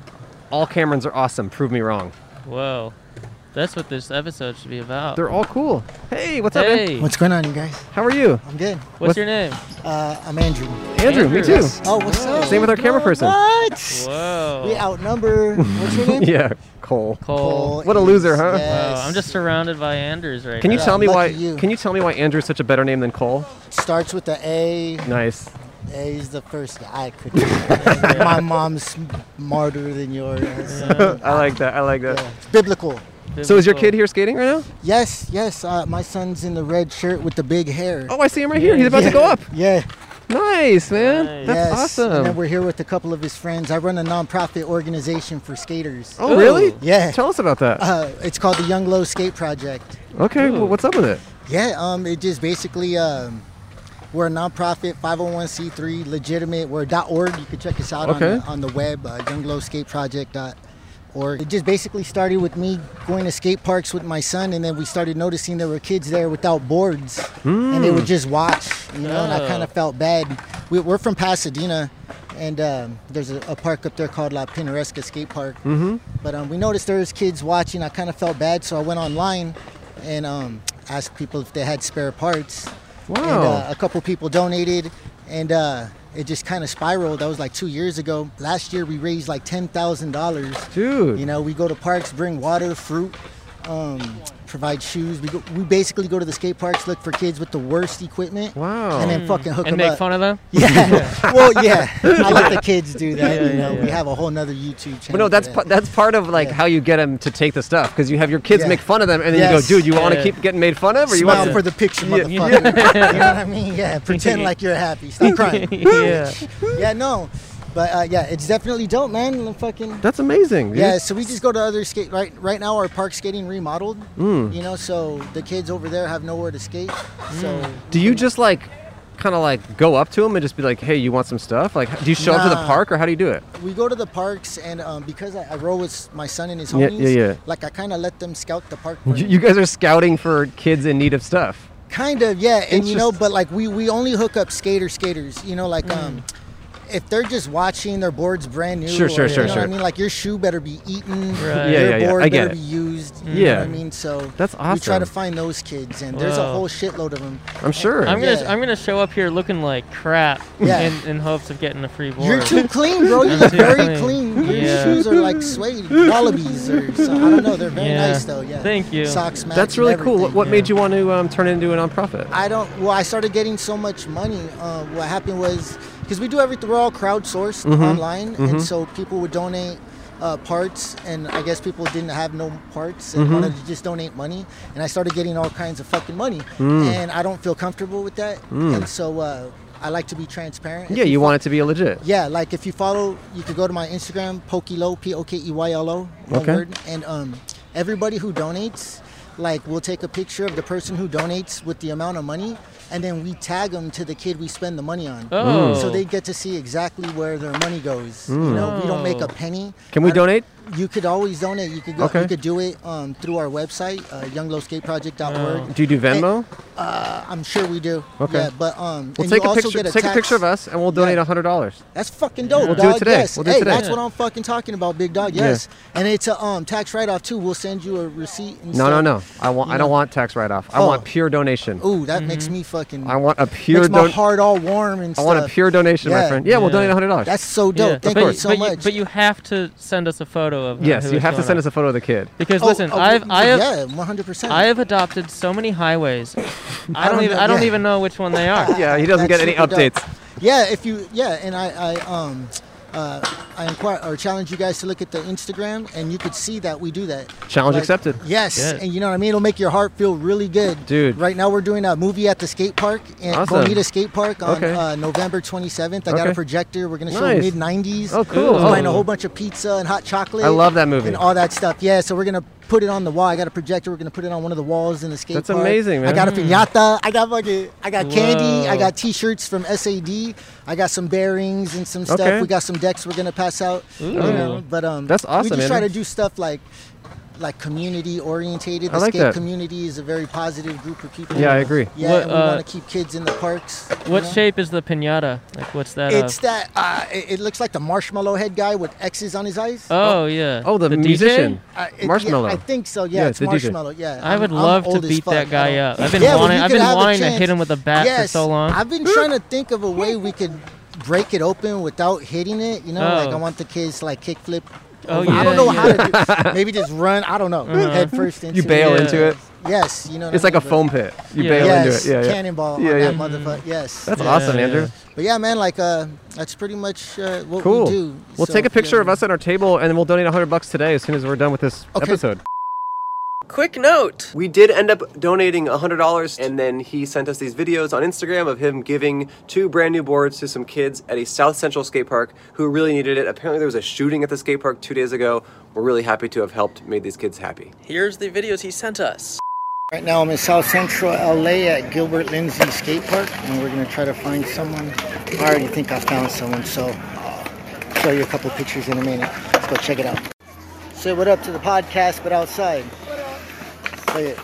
All Camerons are awesome. Prove me wrong.
Whoa. That's what this episode should be about.
They're all cool. Hey, what's up, man?
hey, what's,
What's going on, you guys?
How are you?
I'm good.
what's-
your name?
Uh, I'm Andrew.
Andrew, me
Andrew.
too.
Oh, what's up?
Same with our camera person.
What?
Whoa.
We outnumber. What's your name?
Yeah, Cole.
Cole.
Paul
What a loser,
Eames.
huh? Wow,
Wow,
Yes.
I'm just surrounded by Anders right
Can you
now.
tell me
lucky
why?
you.
Can you tell me why Andrew's such a better name than Cole?
starts with the A.
Nice.
A's the first. I could. My mom's smarter than yours. Uh,
I like that. I like that.
Yeah, It's biblical.
So is your kid here skating right now?
Yes, yes. Uh, my son's in the red shirt with the big hair.
Oh, I see him right here. He's about to
Yeah.
go up.
Yeah.
Nice, man. That's
Nice.
yes. And then
awesome.
we're here with a couple of his friends. I run a nonprofit organization for skaters.
Oh, really?
Ooh.
Yeah.
Tell us about that.
Uh, it's called the Young Low Skate Project.
Okay, well, what's up with it?
Yeah, um, it just basically um, we're a nonprofit, 501c3, legitimate. We're .org. You can check us out
Okay.
on, the, on the web, uh, younglowskateproject.org. It just basically started with me going to skate parks with my son, and then we started noticing there were kids there without boards, and they would just watch, you know. And I kind of felt bad. We, we're from Pasadena. And um, there's a, a park up there called La Pinaresca Skate Park. Mm-hmm. But um, we noticed there was kids watching. I kind of felt bad, so I went online and um, asked people if they had spare parts. And
Wow.
uh, a couple people donated, and uh, it just kind of spiraled. That was like two years ago. Last year we raised like ten thousand dollars.
Dude.
You know, we go to parks, bring water, fruit, um, provide shoes. We go, we basically go to the skate parks, look for kids with the worst equipment.
Wow.
And then fucking hook
and
them
make
up.
fun of them.
yeah. well, yeah. I let the kids do that.
Yeah,
you know,
yeah,
we
yeah.
have a whole nother YouTube channel.
But no,
for
that's
that.
pa- that's part of like
Yeah.
how you get them to take the stuff because you have your kids
Yeah.
make fun of them and then
Yes.
you go, dude, you want to
Yeah.
keep getting made fun of or you
Smile
want to
for the picture,
Yeah,
motherfucker. You know what I mean? Yeah, pretend like you're happy. Stop crying.
yeah.
yeah, no. But uh, yeah, it's definitely dope, man. Like, Fucking
That's amazing. dude.
yeah. So we just go to other skate. Right, right now our park skating remodeled.
Mm.
You know, so the kids over there have nowhere to skate. So
Do you just like kind of like go up to them and just be like, hey, you want some stuff? Like, do you show up to the
Nah.
park or how do you do it?
we go to the parks, and um, because I, I roll with my son and his
Yeah,
homies,
yeah, yeah.
like I kind of let them scout the park. for
You,
me.
you guys are scouting for kids in need of stuff.
Kind of, yeah, and you know,
Interest-
but like we we only hook up skater skaters, you know, like um, if they're just watching their boards brand new,
Mm. Sure, sure,
or,
sure,
you know what
sure.
I mean, like your shoe better be eaten,
Right. Yeah,
your
yeah, yeah,
board
I get
better
it.
be used. you know
Yeah.
what I mean, so
That's
We try
awesome.
to find those kids, and there's a
Wow.
whole shitload of them.
I'm sure.
I'm gonna
Yeah.
I'm gonna show up here looking like crap
Yeah.
in, in hopes of getting a free board.
You're too clean, bro. You look
too
very
clean.
clean. Your
Yeah.
shoes are like suede wallabies, or so, I don't know. They're very
Yeah.
nice though. Yeah.
Thank you.
Socks match.
That's
and
really cool. What,
everything.
what
yeah.
made you want to um, turn it into a nonprofit?
I don't. Well, I started getting so much money. Uh, what happened was because we do everything. We're all crowdsourced
Mm-hmm.
online, and so people would donate uh, parts, and I guess people didn't have no parts
Mm-hmm.
and wanted to just donate money. And I started getting all kinds of fucking money,
Mm.
and I don't feel comfortable with that. And so uh, I like to be transparent. If
yeah, you want it to be legit.
yeah, like if you follow, you could go to my Instagram, Pokeylo, P O K E Y L O, one
Okay.
word. And um, everybody who donates, like we'll take a picture of the person who donates with the amount of money, and then we tag them to the kid we spend the money on.
Oh.
So they get to see exactly where their money goes. You know, we don't make a penny.
Can we
I don't-
donate?
You could always donate. You could go,
Okay.
you could do it um, through our website, uh, younglowskateproject.org.
Do you do Venmo?
Uh, I'm sure we do.
Okay.
Yeah, but um,
We'll
and
take a
you also
picture.
get a
Take a
tax-
picture of us, and we'll donate
Yeah.
hundred dollars.
that's fucking dope,
We'll do it
dog.
today.
Yes.
We'll do it
hey,
today.
that's what I'm fucking talking about, big dog.
Yeah.
Yes. And it's a um tax write off too. We'll send you a receipt and
No, no, no. I want. I don't
Yeah.
want tax write-off. I
Oh.
want pure donation.
Ooh,
Mm-hmm.
that makes me fucking
I want a
makes
pure.
my
Don-
heart all warm and
I
stuff.
want a pure donation, my
Yeah.
friend. Yeah, we'll
Yeah.
donate hundred dollars.
That's so dope.
Yeah.
Thank
but,
you so
but
much.
but you have to send us a photo of.
Yes, you have to send us a photo of the kid.
Because
Oh,
listen,
oh,
I've I have
yeah, 100. percent
I have adopted so many highways. I don't
don't
even
know-
I don't
yeah.
even know which one they are.
Yeah, he doesn't
That's
get any
super dope.
updates.
Yeah, if you yeah, and I I um uh I inquire or challenge you guys to look at the Instagram and you could see that we do that.
Challenge accepted.
Yes,
Yeah.
and you know what I mean. It'll make your heart feel really good,
Dude.
Right now we're doing a movie at the skate park in
Awesome.
Bonita Skate Park on
Okay.
uh, November 27th. I got
Okay.
a projector. We're gonna show
Nice.
mid 90s.
Oh, cool.
We're buying
Oh.
a whole bunch of pizza and hot chocolate.
I love that movie.
and all that stuff. Yeah, so we're gonna put it on the wall. I got a projector. We're gonna put it on one of the walls in the skate
That's
park.
amazing, man.
I got a piñata. I got fucking. I got candy.
Whoa.
I got T-shirts from SAD. I got some bearings and some stuff.
Okay.
We got some decks. We're gonna pass out. You know, but um,
That's awesome,
We just try
man.
to do stuff like like community orientated.
I
The
like
skate
that.
community is a very positive group of people.
Yeah, I agree.
Yeah,
What,
and we
uh,
want to keep kids in the parks. you
What
know?
shape is the pinata? Like what's that?
It's
of?
that. Uh, it, it looks like the marshmallow head guy with X's on his eyes.
Oh yeah.
Oh, the,
DJ?
musician.
Uh, it- yeah,
Marshmallow.
I think so. Yeah,
Yeah,
it's
the DJ.
marshmallow. Yeah,
I would
I'm- I'm
love to
old as
beat
fuck.
that guy
I don't-
up. I've been
Yeah, well,
wanting
you
I've
could
been
have a
wanting to hit
chance.
him with a bat
yes,
for so long.
I've been trying to think of a way we could break it open without hitting it. You know, like
Oh.
I want the kids to, like kickflip.
Oh,
over.
yeah, Uh-huh.
I don't know
yeah.
how to. Do, maybe just run. I don't know. Head first into
You bail
it.
Yeah.
into it.
Yes, you know. what
It's
I
like a
mean, but-
foam pit. You
Yeah.
bail
Yes,
into it. Yeah, yeah.
cannonball
Yeah,
on
yeah.
that motherfucker. Yes.
That's
Yeah,
awesome,
yeah.
Andrew.
But yeah, man, like uh, that's pretty much uh, what
Cool.
we do.
We'll
So,
take a picture
yeah.
of us at our table, and then we'll donate hundred bucks today as soon as we're done with this
Okay.
episode.
Quick note.
We did end up donating $100, and then he sent us these videos on Instagram of him giving two brand new boards to some kids at a South Central skate park who really needed it. Apparently, there was a shooting at the skate park two days ago. We're really happy to have helped, made these kids happy.
Here's the videos he sent us.
Right now, I'm in South Central LA at Gilbert Lindsay Skate Park, and we're gonna try to find someone. I already think I found someone, so I'll show you a couple pictures in a minute. Let's go check it out. Say what up to the podcast, but outside. Look at it.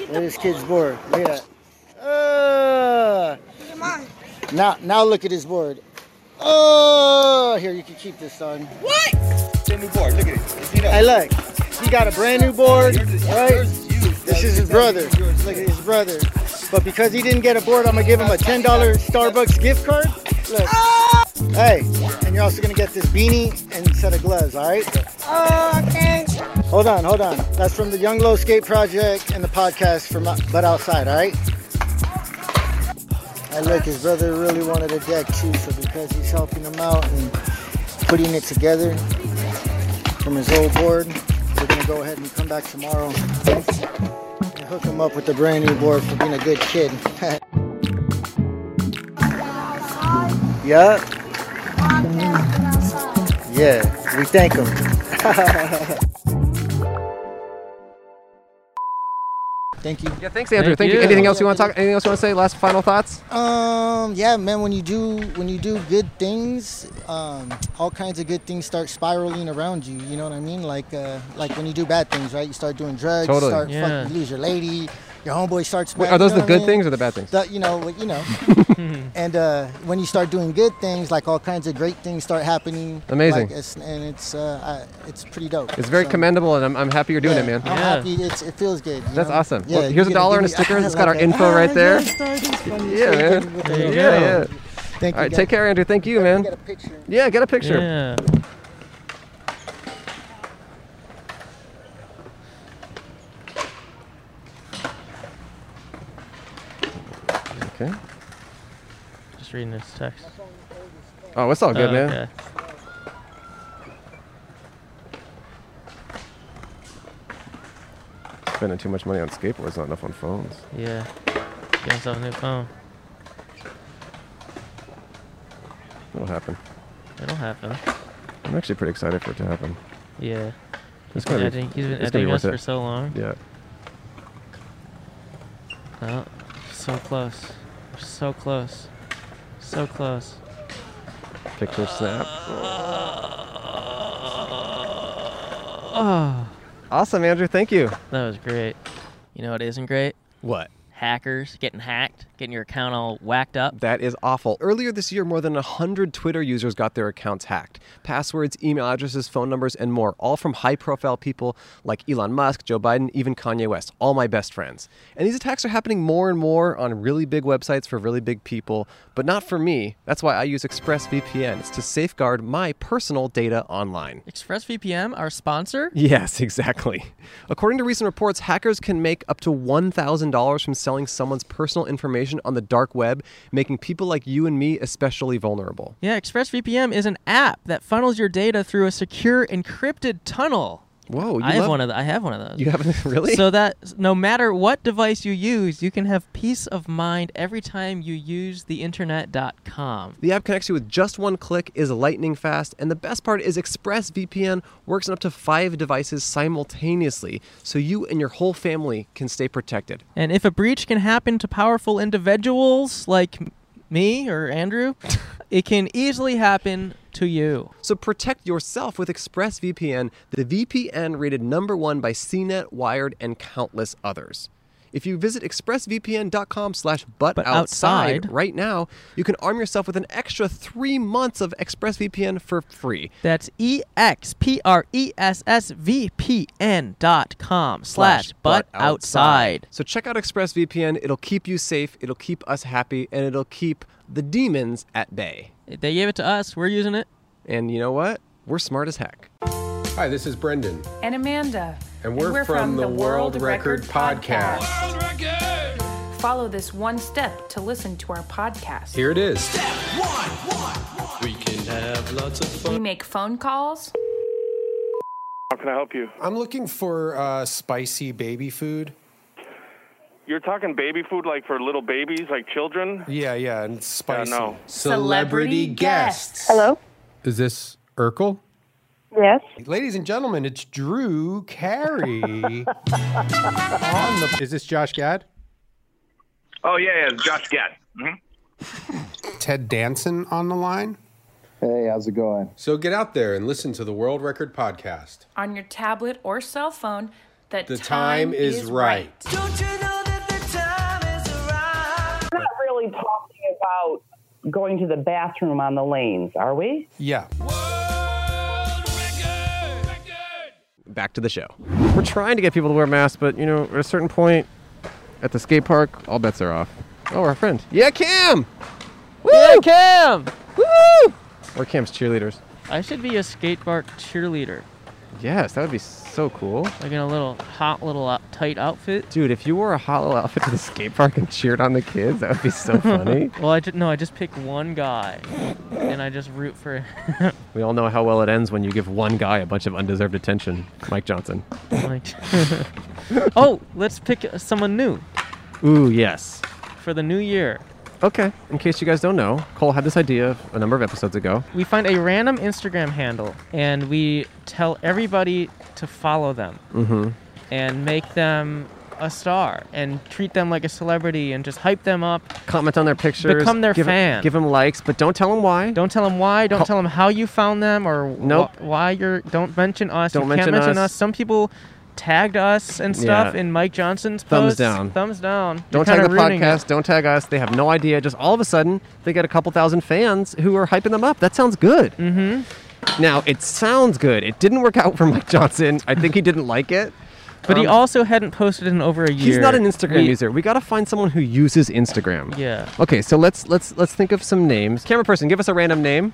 Look at this kid's board. Look at that. Uh,
Come on.
now, now look at his board. Oh, here you can keep this on.
What?
Hey, look, he got a brand new board, right? This is his brother. Look at his brother. But because he didn't get a board, I'm gonna give him a $10 Starbucks gift card. Look.
Oh,
Hey, and you're also gonna get this beanie and set of gloves, all right?
Oh, thanks.
Hold on, hold on. That's from the Young Low Skate Project and the podcast from uh, But Outside, all right? And look, his brother really wanted a deck too, so because he's helping him out and putting it together from his old board, we're gonna go ahead and come back tomorrow and hook him up with the brand new board for being a good kid. yeah, yeah, we thank him. Thank you.
Yeah, thanks, Andrew.
Thank
Thank, you.
you.
Anything else you want to talk? Anything else you want to say? Last final thoughts?
Um, yeah, man. When you do when you do good things, um, all kinds of good things start spiraling around you. You know what I mean? Like uh, like when you do bad things, right? You start doing drugs,
Totally.
start
Yeah.
fucking you lose your lady, your homeboy starts.
Wait,
back,
are those the
you know what I
good
mean?
things or the bad things?
that you know what- you know and uh, when you start doing good things like all kinds of great things start happening
Amazing.
like, it's, and it's uh, I, it's pretty dope
It's very
So,
commendable, and I'm, I'm happy you're doing
yeah,
it, man.
i'm
Yeah.
happy it's, it feels good you
That's
know?
awesome. Well,
you
here's a
gotta
dollar
give
and a
me-
sticker. It's got
like
our
a,
info
"Ah,
right there."
yes, that is funny.
Yeah,
Shake
man.
it with
There
the-
you
Yeah,
go.
yeah.
thank
All right,
you
take care, Andrew. Thank you, man.
get a picture
Yeah, get a picture.
Yeah.
Okay.
Just reading this text.
Oh, it's all good,
Oh,
man.
okay.
Spending too much money on skateboards, not enough on phones.
Yeah. Get himself a new phone.
It'll happen.
It'll happen.
I'm actually pretty excited for it to happen.
Yeah.
It's
Been
gonna be.
editing- he's been
it's gonna
editing
be
us
worth
for
it.
so long.
Yeah.
Oh, so close. We're so close. So close.
Picture snap.
Oh,
Awesome, Andrew. Thank you.
that was great. You know what isn't great?
What?
Hackers getting hacked, getting your account all whacked up.
That is awful. Earlier this year, more than 100 Twitter users got their accounts hacked. Passwords, email addresses, phone numbers, and more, all from high profile people like Elon Musk, Joe Biden, even Kanye West, all my best friends. And these attacks are happening more and more on really big websites for really big people, but not for me. That's why I use ExpressVPN. It's to safeguard my personal data online.
ExpressVPN, our sponsor?
Yes, exactly. According to recent reports, hackers can make up to $1,000 from selling someone's personal information on the dark web, making people like you and me especially vulnerable.
Yeah, ExpressVPN is an app that funnels your data through a secure encrypted tunnel.
Whoa, you
I have
love-
one of th- I have one of those.
You haven't really?
So that s- no matter what device you use, you can have peace of mind every time you use the internet.com.
the app connects you with just one click, is lightning fast, and the best part is ExpressVPN works on up to five devices simultaneously, so you and your whole family can stay protected.
And if a breach can happen to powerful individuals like m- me or Andrew, it can easily happen to you.
So protect yourself with ExpressVPN, the VPN rated number one by CNET, Wired, and countless others. If you visit expressvpn.com slash butt outside
outside.
right now, you can arm yourself with an extra three months of ExpressVPN for free.
That's E X P R E S S V P N dot com slash butt outside.
So check out ExpressVPN. It'll keep you safe, it'll keep us happy, and it'll keep the demons at bay.
They gave it to us. We're using it.
And you know what? We're smart as heck.
Hi, this is Brendan,
and Amanda.
and we're, from, the World, Record, Podcast.
Follow this one step to listen to our podcast.
Here it is.
We make phone calls.
How can I help you?
I'm looking for uh, spicy baby food.
You're talking baby food like for little babies, like children?
Yeah, yeah, and spicy.
no.
Celebrity guests.
Hello? Is this Urkel?
Yes.
Ladies and gentlemen, it's Drew Carey. on the, is this Josh Gad?
Oh yeah, yeah, Josh Gad. hmm
Ted Danson on the line?
Hey, how's it going?
So get out there and listen to the World Record Podcast.
On your tablet or cell phone, that
The time, is, right.
We're not really talking about going to the bathroom on the lanes, are we?
Yeah.
Back to the show. We're trying to get people to wear masks, but you know, at a certain point at the skate park, all bets are off. Oh, our friend. Yeah, Cam! Woo!
Yeah, Cam!
Woo! We're Cam's cheerleaders.
I should be a skate park cheerleader,
Yes, that would be so cool.
like in a little hot little out- tight outfit.
Dude, if you wore a hollow outfit to the skate park and cheered on the kids, that would be so funny.
Well, I just no, I just pick one guy, and I just root for.
we all know how well it ends when you give one guy a bunch of undeserved attention. Mike Johnson.
like, oh, let's pick someone new
Ooh, yes.
for the new year.
Okay, in case you guys don't know, Cole had this idea a number of episodes ago.
We find a random Instagram handle, and we tell everybody to follow them,
Mhm.
and make them a star, and treat them like a celebrity, and just hype them up.
Comment on their pictures.
Become their
give 'em-
fan.
give them likes, but don't tell them why.
Don't tell them why. Don't
Col-
tell them how you found them or wh-
Nope.
why you're. Don't mention us.
Don't
you
mention
can't mention
us.
us. Some people tagged us and stuff
Yeah.
in Mike Johnson's
Thumbs
posts.
down.
Thumbs down. You're
Don't tag
kinda
the
ruining it.
podcast. Don't tag us. They have no idea. Just all of a sudden, they get a couple thousand fans who are hyping them up. That sounds good. Mm-hmm. Now it sounds good. It didn't work out for Mike Johnson. I think he didn't like it.
But he
Um,
also hadn't posted in over a year.
He's not an Instagram
We-
user. We gotta find someone who uses Instagram.
Yeah.
Okay, so let's let's let's think of some names. Camera person, give us a random name.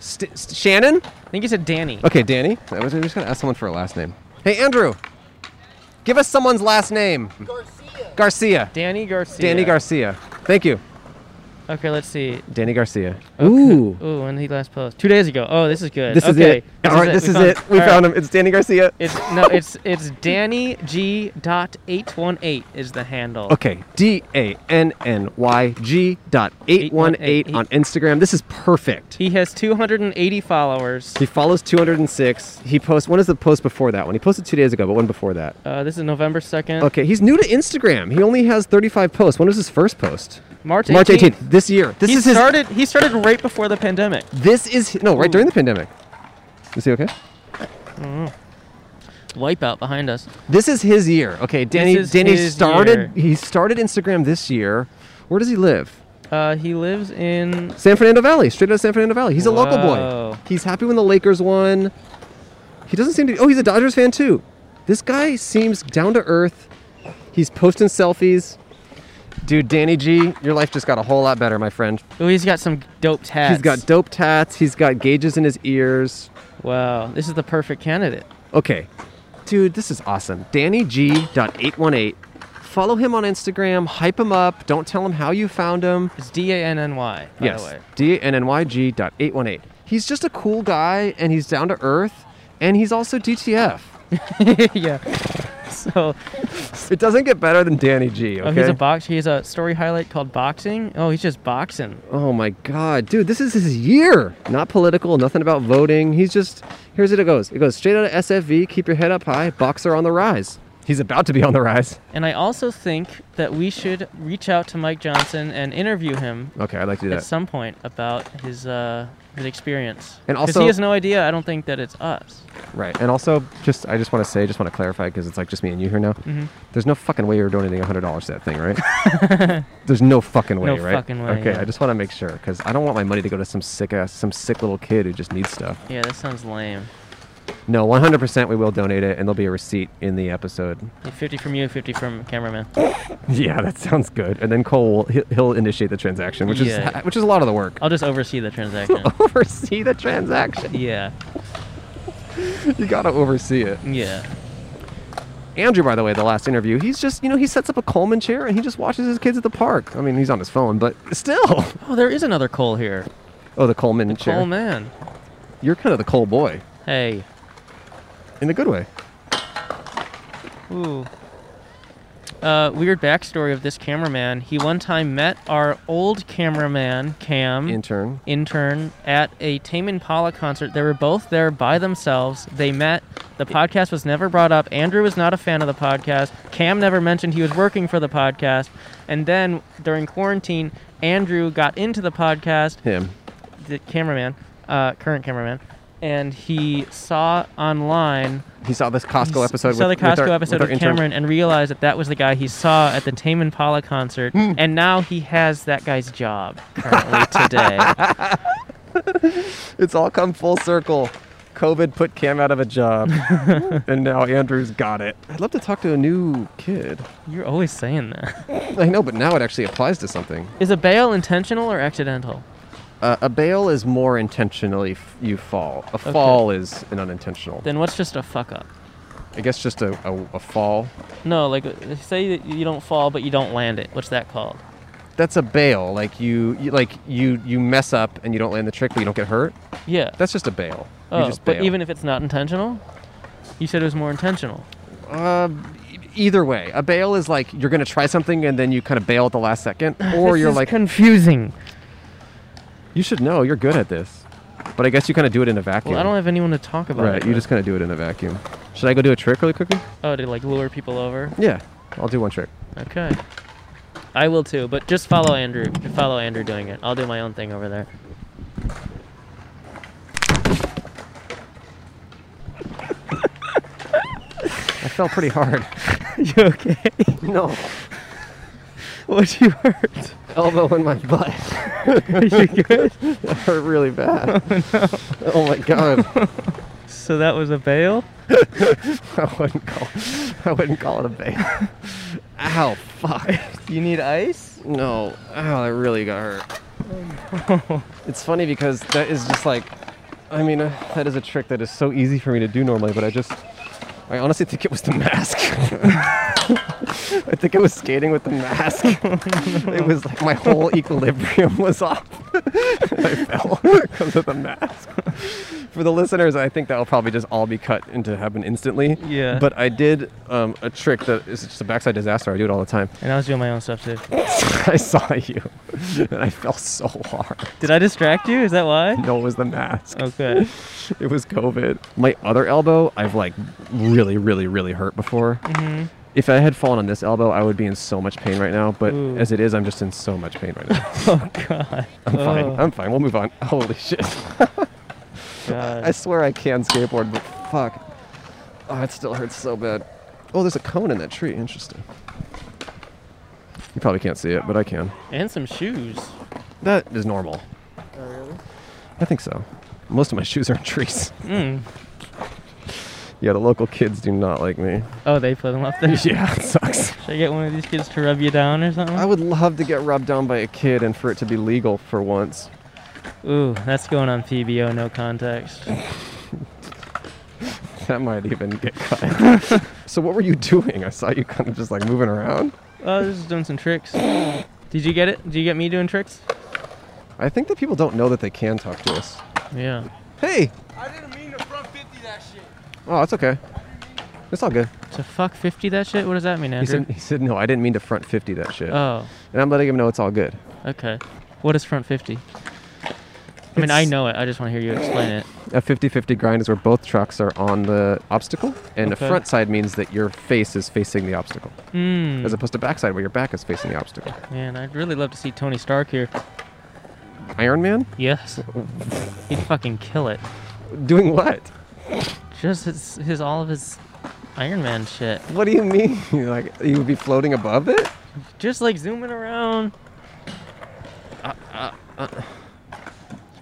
St- st- Shannon.
I think he said Danny.
Okay, Danny. I was I was just gonna ask someone for a last name. Hey, Andrew. Give us someone's last name. Garcia. Garcia.
Danny Garcia.
Danny Garcia. Thank you.
Okay, let's see.
Danny Garcia. Ooh.
Ooh, when did he last post? Two days ago. Oh, this is good.
This is
okay.
it. All right, this is it. We
all
found
right.
him. It's Danny Garcia.
It's no, it's it's Danny G dot eight one eight is the handle.
Okay, D A N N Y G dot eight one eight on Instagram. This is perfect.
He has two hundred and eighty followers.
He follows 206. He posts. When is the post before that one? He posted two days ago, but one before that.
Uh, this is November second.
Okay, he's new to Instagram. He only has 35 posts. When was his first post?
March
March
18th.
18th this year. This
he
is his.
started. He started right before the pandemic.
This is no right during the pandemic. Is he okay?
Wipeout behind us.
This is his year. Okay, Danny.
is
Danny
his
started.
year.
He started Instagram this year. Where does he live?
Uh, he lives in.
San Fernando Valley, straight out of San Fernando Valley. He's a local boy.
Wow.
He's happy when the Lakers won. He doesn't seem to. Oh, he's a Dodgers fan too. This guy seems down to earth. He's posting selfies. Dude, Danny G, your life just got a whole lot better, my friend.
Oh, he's got some dope tats.
He's got dope tats. He's got gauges in his ears.
Wow, this is the perfect candidate.
Okay, dude, this is awesome. Danny G.818. Follow him on Instagram. Hype him up. Don't tell him how you found him.
It's D A N N Y. By The
Yes.
way.
D N N Y G dot eight one eight. He's just a cool guy and he's down to earth and he's also DTF.
yeah. So
It doesn't get better than Danny G, okay?
oh, he's a box. He has a story highlight called boxing. Oh, he's just boxing.
Oh my god, dude, this is his year. Not political, nothing about voting. He's just here's it it goes. It goes straight out of SFV, keep your head up high, boxer on the rise. He's about to be on the rise.
And I also think that we should reach out to Mike Johnson and interview him
Okay, I'd like to do
at
that.
some point about his uh, his experience.
And
'Cause
also-
he has no idea. I don't think that it's us.
Right. And also just I just want to say, just want to clarify because it's like just me and you here now.
Mm-hmm.
There's no fucking way you're donating hundred dollars to that thing, right? There's no fucking way,
No
right?
fucking way,
Okay,
yeah.
I just want to make sure because I don't want my money to go to some sick ass, some sick little kid who just needs stuff.
Yeah, that sounds lame.
No, 100% we will donate it, and there'll be a receipt in the episode.
Yeah, Fifty from you, fifty from cameraman.
yeah, that sounds good. And then Cole will he'll, he'll initiate the transaction, which
Yeah.
is which is a lot of the work.
I'll just oversee the transaction.
oversee the transaction.
yeah,
You gotta oversee it.
yeah.
Andrew, by the way, the last interview, he's just, you know, he sets up a Coleman chair and he just watches his kids at the park. I mean, he's on his phone, but still.
Oh, there is another Cole here.
Oh, the Coleman chair.
Cole man.
You're kind of the Cole boy
Hey.
in a good way.
Ooh. uh, weird backstory of this cameraman. He one time met our old cameraman Cam
Intern.
intern at a Tame Impala concert. They were both there by themselves. They met. The podcast was never brought up. Andrew was not a fan of the podcast. Cam never mentioned he was working for the podcast. And then during quarantine, Andrew got into the podcast
Him.
the cameraman, uh, current cameraman, and he saw online
He saw this Costco episode.
he saw
with,
the Costco
with our,
episode
with our
with,
intern.
Cameron and realized that that was the guy he saw at the Tame Impala concert,
Hmm.
and now he has that guy's job currently today.
It's all come full circle. COVID put Cam out of a job, and now Andrew's got it. I'd love to talk to a new kid.
You're always saying that.
I know, but now it actually applies to something.
Is a bail intentional or accidental?
Uh, a bail is more intentionally f- you fall. A fall is an unintentional.
Then what's just a fuck up?
I guess just a, a, a fall.
No, like uh, say that you don't fall but you don't land it. What's that called?
That's a bail. Like you, you like you you mess up and you don't land the trick, but you don't get hurt.
Yeah.
That's just a bail.
oh,
you just
but
bail.
even if it's not intentional, you said it was more intentional.
either way, a bail is like you're gonna try something and then you kind of bail at the last second, or
This
you're
is
like
confusing.
you should know you're good at this. But I guess you kind of do it in a vacuum.
Well, I don't have anyone to talk about.
right,
it
you
with.
just kind of do it in a vacuum. Should I go do a trick really quickly?
oh to like lure people over.
Yeah, I'll do one trick.
Okay. I will too, but just follow Andrew. Follow Andrew doing it. I'll do my own thing over there.
I fell pretty hard.
you okay?
no,
What you hurt?
elbow in my butt.
Are you good?
That hurt really bad. Oh my god.
So that was a bail.
I wouldn't call. I wouldn't call it a bail. Ow, fuck.
You need ice?
No. Ow, that really got hurt. it's funny because that is just like, I mean, uh, that is a trick that is so easy for me to do normally, but I just, I honestly think it was the mask. I think I was skating with the mask. it was like my whole equilibrium was off. I fell because of the mask. For the listeners, I think that will probably just all be cut into happen instantly.
Yeah.
But I did um, a trick that is just a backside disaster. I do it all the time.
And I was doing my own stuff too.
I saw you, and I fell so hard.
Did I distract you? Is that why? Oh,
No, it was the mask.
Okay.
It was COVID. My other elbow, I've like really, really, really hurt before.
Mm-hmm.
If I had fallen on this elbow, I would be in so much pain right now. But
Ooh.
as it is, I'm just in so much pain right now.
Oh God. Oh.
I'm fine. I'm fine. We'll move on. Holy shit! I
God.
swear I can skateboard, but fuck, oh, it still hurts so bad. Oh, there's a cone in that tree. Interesting. You probably can't see it, but I can.
And some shoes.
That is normal. I think so. Most of my shoes are in trees.
Mm.
Yeah, the local kids do not like me.
Oh, they put them up there. Should
Yeah, it sucks.
I get one of these kids to rub you down or
I
something?
would love to get rubbed down by a kid and for it to be legal for once.
Ooh, that's going on PBO, no context.
That might even get cut. so what were you doing? I saw you kind of just like moving around.
Oh, this is doing some tricks. Did you get it? Did you get me doing tricks?
I think that people don't know that they can talk to us.
Yeah.
Hey!
I didn't mean to front 50 that shit.
Oh, it's okay. It's all good.
To fuck 50 that shit? What does that mean,
He
Andrew?
said, he said, no, I didn't mean to front 50 that shit.
Oh,
and I'm letting him know it's all good.
okay. What is front 50? I mean, I
It's-
know it. I just want to hear you explain it.
A 50-50 grind is where both trucks are on the obstacle, and
Okay.
a front side means that your face is facing the obstacle, as
Mm,
opposed to backside where your back is facing the obstacle.
man, I'd really love to see Tony Stark here.
Iron Man
Yes. He'd fucking kill it.
doing what?
Just his, his all of his Iron Man shit.
What do you mean? like you would be floating above it?
Just like zooming around. Uh,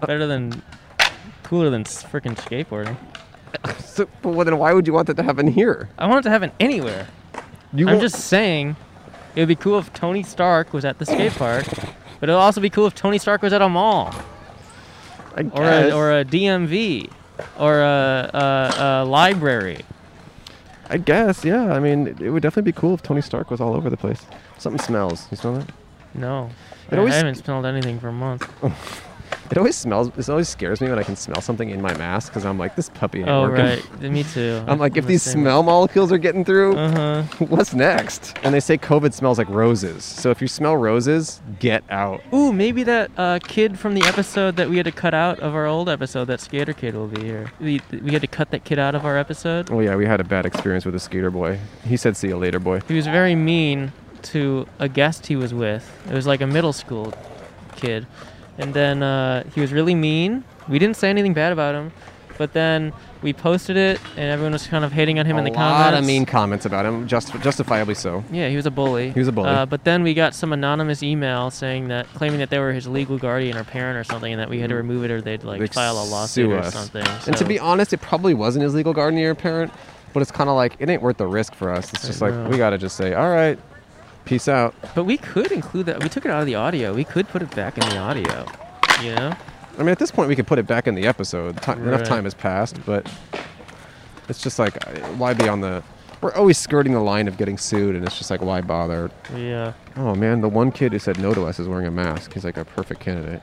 Better than, cooler than s- freaking skateboarding.
So, but well, then why would you want that to happen here?
I want it to happen anywhere.
You
I'm
won't-
just saying, it would be cool if Tony Stark was at the skate park, but it'll also be cool if Tony Stark was at a mall
I
or a,
guess,
or a DMV or a, a, a library.
I guess, yeah. I mean, it, it would definitely be cool if Tony Stark was all over the place. Something smells. You smell that?
No,
It
I
always-
haven't smelled anything for a month.
It always smells. It always scares me when I can smell something in my mask because I'm like, this puppy ain't
Oh
working.
right, me too.
I'm like, if
the
these
same.
smell molecules are getting through,
Uh-huh.
what's next? And they say COVID smells like roses. So if you smell roses, get out.
Ooh, maybe that uh, kid from the episode that we had to cut out of our old episode, that skater kid will be here. We, we had to cut that kid out of our episode.
Oh yeah, we had a bad experience with a skater boy. He said, "See you later, boy."
He was very mean to a guest he was with. It was like a middle school kid. And then uh, he was really mean. We didn't say anything bad about him. But then we posted it, and everyone was kind of hating on him in the
a
comments.
lot of mean comments about him, just justifiably so.
Yeah, he was a bully.
He was a bully.
Uh, but then we got some anonymous email saying that, claiming that they were his legal guardian or parent or something, and that we had to remove it or they'd like
They
file a
sue
lawsuit or
us.
something.
And to
so-
be honest, it probably wasn't his legal guardian or parent, but it's kind of like it ain't worth the risk for us. It's just like
know.
we gotta just say, "All right, peace out."
but we could include that. We took it out of the audio. We could put it back in the audio. You know?
I mean, at this point, we could put it back in the episode. Ti- Enough
Right.
time has passed, but it's just like, I- why be on the? We're always skirting the line of getting sued, and it's just like, why bother?
Yeah.
Oh man, the one kid who said no to us is wearing a mask. He's like a perfect candidate.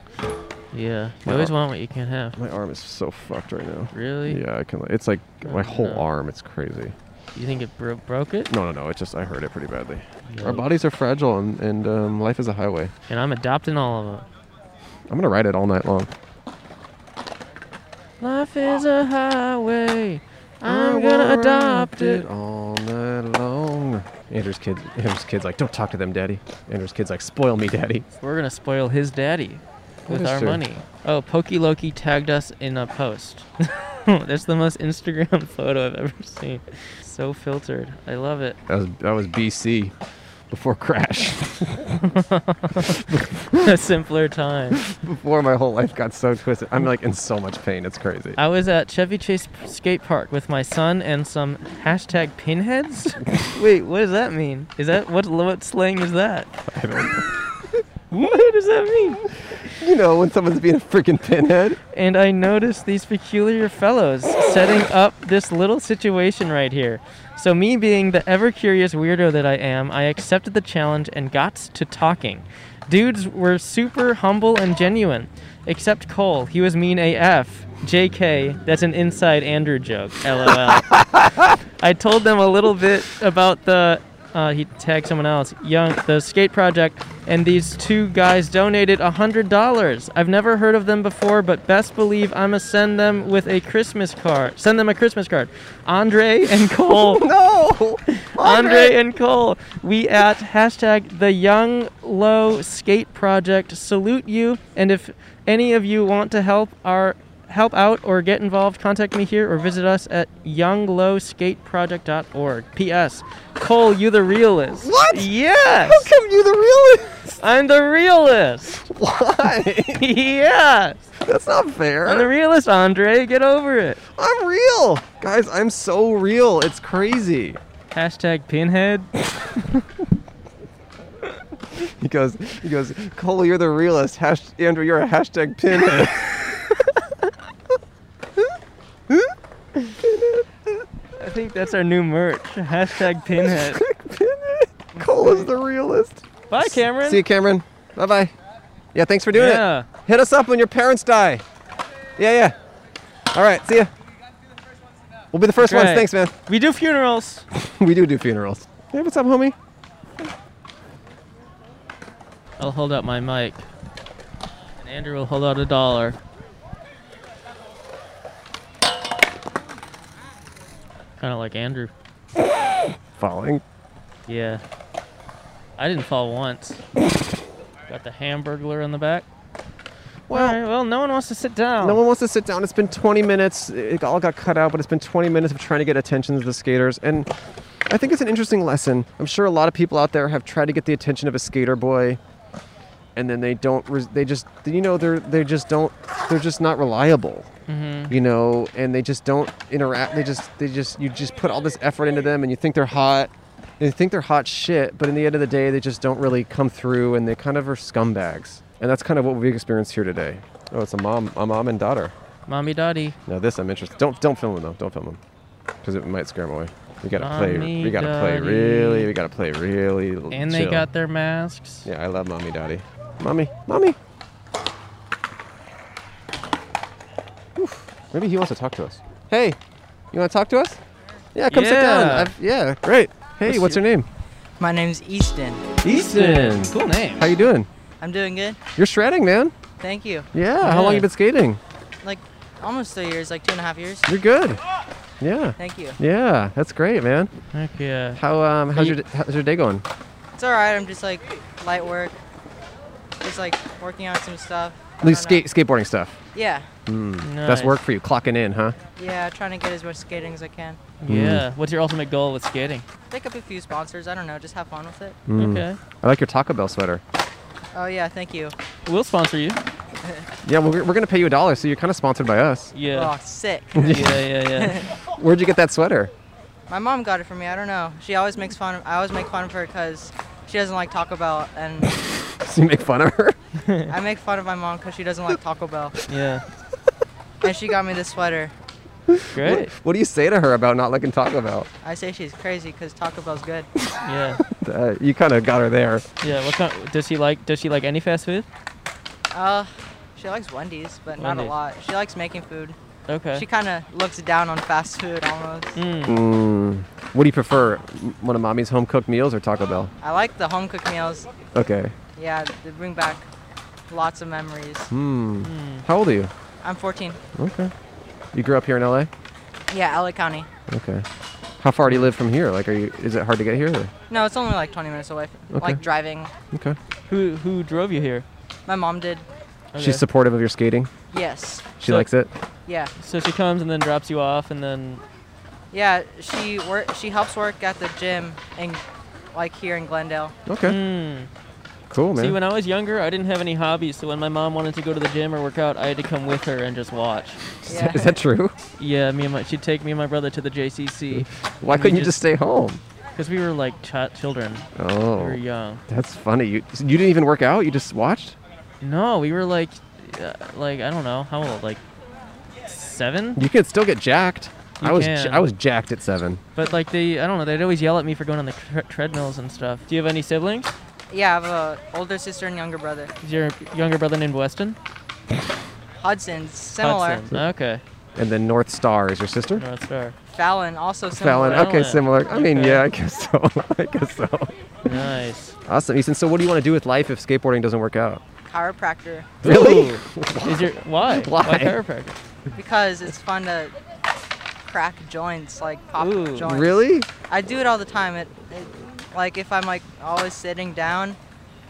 Yeah. You
My
always
ar-
want what you can't have.
My arm is so fucked right now.
Really?
Yeah, I can. like- It's like my
Oh,
whole
no.
arm. It's crazy.
You think it bro- broke it?
No, no, no. It just I hurt it pretty badly. Our
Yeah.
bodies are fragile, and, and um, life is a highway.
And I'm adopting all of them.
I'm gonna ride it all night long.
Life is a highway. I'm
I
gonna
will
adopt
ride
it.
all night long. Andrew's kid, Andrew's kid's like, don't talk to them, daddy. Andrew's kid's like, spoil me, daddy.
We're gonna spoil his daddy with
is
our
true.
money. Oh, Pokey Loki tagged us in a post. That's the most Instagram photo I've ever seen. So filtered. I love it.
That was that was BC, before Crash,
a simpler time.
before my whole life got so twisted. I'm like in so much pain. It's crazy.
I was at Chevy Chase Skate Park with my son and some hashtag pinheads. Wait, what does that mean? Is that what what slang is that?
I don't-
What does that mean?
you know when someone's being a freaking pinhead.
and I noticed these peculiar fellows setting up this little situation right here. So, me being the ever curious weirdo that I am, I accepted the challenge and got to talking. Dudes were super humble and genuine, except Cole. He was mean AF. JK, that's an inside Andrew joke. LOL. I told them a little bit about the. Uh, he tagged someone else. Young, the skate project, and these two guys donated a hundred dollars. I've never heard of them before, but best believe I'ma send them with a Christmas card. Send them a Christmas card. Andre and Cole.
No,
Andre and Cole, we at hashtag the Young Low Skate Project salute you. And if any of you want to help our help out or get involved, contact me here or visit us at younglowskateproject.org. P.S. Cole, you the realist.
What?
Yes.
How come you the realist?
I'm the realist.
Why?
yes.
That's not fair.
I'm the realist, Andre. Get over it.
I'm real, guys. I'm so real. It's crazy.
Hashtag pinhead.
He goes, he goes, Cole, you're the realist. Hash- Andrew, you're a hashtag pinhead.
I think that's our new merch. Hashtag pinhead.
Cole is the realist.
Bye, Cameron.
See you, Cameron. Bye bye. Yeah, thanks for doing
Yeah.
it. Hit us up when your parents die. Yeah, yeah. All right, see ya. We'll be the first
Great.
ones. Thanks, man.
We do funerals.
we do do funerals. Hey, what's up, homie?
I'll hold out my mic. And Andrew will hold out a dollar. Kind of like Andrew.
Falling.
Yeah. I didn't fall once. Got the hamburglar in the back. Well, well, no one wants to sit down.
No one wants to sit down. It's been 20 minutes. It all got cut out, but it's been 20 minutes of trying to get attention to the skaters. And I think it's an interesting lesson. I'm sure a lot of people out there have tried to get the attention of a skater boy, and then they don't. Res- they just, you know, they're they just don't. They're just not reliable.
Mm-hmm.
You know, and they just don't interact. They just they just you just put all this effort into them, and you think they're hot. and you think they're hot shit, but in the end of the day, they just don't really come through, and they kind of are scumbags. And that's kind of what we experienced here today. Oh, it's a mom, a mom and daughter.
Mommy Dottie.
Now this I'm interested. Don't don't film him though. Don't film him, because it might scare him away. We gotta play.
Mommy
We gotta play
daddy.
really. We gotta play really. l-
And they
chill.
got their masks.
Yeah, I love mommy, daddy. Mommy, mommy. Maybe he wants to talk to us. Hey, you want to talk to us? Yeah, come sit down.
Yeah.
I've- yeah, great. Hey,
Let's
what's
see.
your name?
My name's Easton.
Easton.
Cool name.
How you doing?
I'm doing good.
You're shredding, man.
Thank you.
Yeah. How long
Yeah.
you been skating?
Like almost three years, like two and a half years.
You're good. Yeah.
Thank you.
Yeah, that's great, man.
Heck yeah.
How um how's your d- how's your day going?
It's all right. I'm just like light work, just like working on some stuff. I
Like
don't know.
skate skateboarding stuff.
Yeah.
Mm.
Nice.
That's work for you, clocking in, huh?
Yeah, trying to get as much skating as I can.
Yeah.
Mm.
What's your ultimate goal with skating?
Pick up a few sponsors. I don't know. Just have fun with it.
Mm.
Okay.
I like your Taco Bell sweater.
Oh yeah, thank you.
We'll sponsor you.
Yeah, well, we're, we're gonna pay you a dollar, so you're kind of sponsored by us.
Yeah.
Oh, sick.
yeah, yeah, yeah.
Where'd you get that sweater?
My mom got it for me. I don't know. She always makes fun. Of, I always make fun of her because she doesn't like Taco Bell, and
So you make fun of her?
I make fun of my mom because she doesn't like Taco Bell,
Yeah.
and she got me this sweater.
Great.
What do you say to her about not liking Taco Bell?
I say she's crazy because Taco Bell's good.
Yeah.
Uh, you kind of got her there.
Yeah. What kind? Does she like? Does she like any fast food?
Uh, she likes Wendy's, but not a
Wendy's.
lot. She likes making food.
Okay.
She kind of looks down on fast food almost.
Mm.
Mm. What do you prefer, m- one of mommy's home cooked meals or Taco Bell?
I like the home cooked meals.
Okay.
Yeah, they bring back lots of memories.
Mm.
Hmm. How old are you?
I'm 14.
Okay. You grew up here in LA?
Yeah, LA County.
Okay. How far do you live from here? Like, are you? Is it hard to get here? Or?
No, it's only like 20 minutes away. From,
Okay.
Like driving.
Okay.
Who who drove you here?
My mom did.
Okay.
She's supportive of your skating.
Yes.
She
So-
likes it.
Yeah.
so she comes and then drops you off and then
Yeah. She work. She helps work at the gym and like here in Glendale.
Okay.
Mm.
Cool, man.
See, when I was younger, I didn't have any hobbies, so when my mom wanted to go to the gym or work out, I had to come with her and just watch.
Is
Yeah.
that- is that true?
Yeah, me and my she'd take me and my brother to the JCC
Why
And we
couldn't you
just-
just stay home?
because we were like ch- children. We were
Oh,
young.
that's funny. You you didn't even work out. You just watched.
No, we were like, uh, like I don't know how old, like seven.
You could still get jacked.
You
I was
can.
I was jacked at seven.
But like they, I don't know, they'd always yell at me for going on the tre- treadmills and stuff. Do you have any siblings?
Yeah, I have a older sister and younger brother.
Is your younger brother named Weston?
Hudson's similar.
Hudson. Okay.
And then North Star is your sister.
North Star.
Fallon also similar.
Fallon. Okay,
Fallon.
similar. I mean,
Okay.
yeah, I guess so. I guess so.
Nice.
Awesome, Ethan. So, what do you want to do with life if skateboarding doesn't work out?
Chiropractor
Really?
Is your why?
Why?
chiropractor?
because it's fun to crack joints, like pop
Ooh.
joints.
Really?
I do it all the time. It, it like if I'm like always sitting down,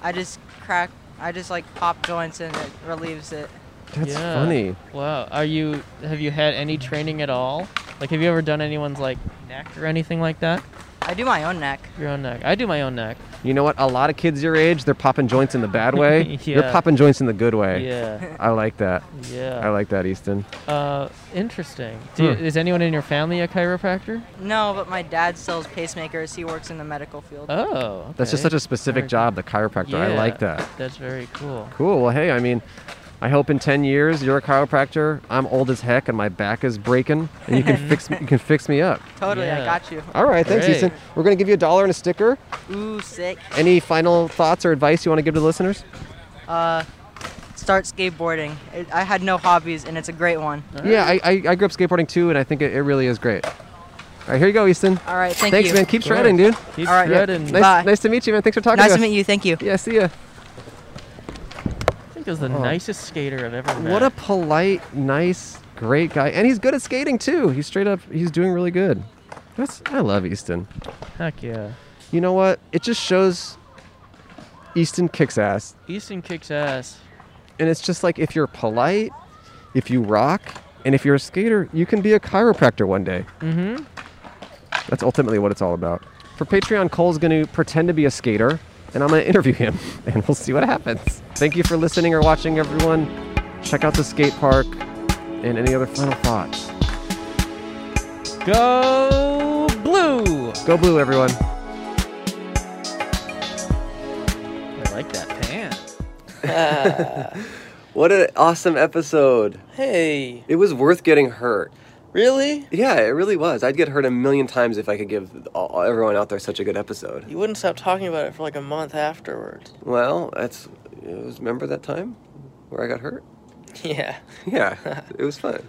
I just crack. I just like pop joints and it relieves it.
That's
Yeah.
funny.
Wow. Are you? Have you had any training at all? Like, have you ever done anyone's like neck or anything like that?
I do my own neck.
Your own neck. I do my own neck.
You know what? A lot of kids your age, they're popping joints in the bad way. You're
Yeah.
popping joints in the good way.
Yeah.
I like that. I
Yeah.
like that, Easton.
Uh, interesting. Do you,
Hmm.
Is anyone in your family a chiropractor?
No, but my dad sells pacemakers. He works in the medical field.
Oh.
That's just
okay.
such a specific
Very
job, the chiropractor. I
Yeah.
like that.
That's very cool.
Cool. Well, hey, I mean, I hope in 10 years you're a chiropractor. I'm old as heck and my back is breaking, and you can fix me, you can fix me up.
Totally,
Yeah.
I got you.
All right, thanks,
Great.
Easton. We're gonna give you a dollar and a sticker.
Ooh, sick.
Any final thoughts or advice you want to give to the listeners?
Uh, start skateboarding. It, I had no hobbies, and it's a great one.
Uh,
Yeah, I, I, I grew up skateboarding too, and I think it, it really is great. All right, here you go, Easton.
All right, thank
Thanks,
you.
man. Keep shredding, dude.
Keep
All right. Yeah.
shredding.
Nice,
Bye.
nice to meet you, man. Thanks for talking
Nice
to
to
us.
meet you. Thank you.
Yeah, see ya.
I think it was the nicest skater I've ever met.
Oh. What a polite, nice, great guy, and he's good at skating too. He's straight up. He's doing really good. That's I love Easton.
heck yeah.
You know what? It just shows Easton kicks ass,
Easton kicks ass.
and it's just like if you're polite, if you rock, and if you're a skater, you can be a chiropractor one day.
Mm-hmm.
That's ultimately what it's all about. For Patreon, Cole's going to pretend to be a skater, and I'm going to interview him, and we'll see what happens. Thank you for listening or watching, everyone. Check out the skate park. And any other final thoughts?
Go blue.
Go blue, everyone.
I like that pan.
What an awesome episode.
Hey.
It was worth getting hurt.
Really?
Yeah, it really was. I'd get hurt a million times if I could give all, everyone out there such a good episode.
You wouldn't stop talking about it for like a month afterwards.
Well, that's it was remember that time where I got hurt?
Yeah.
Yeah, it was fun.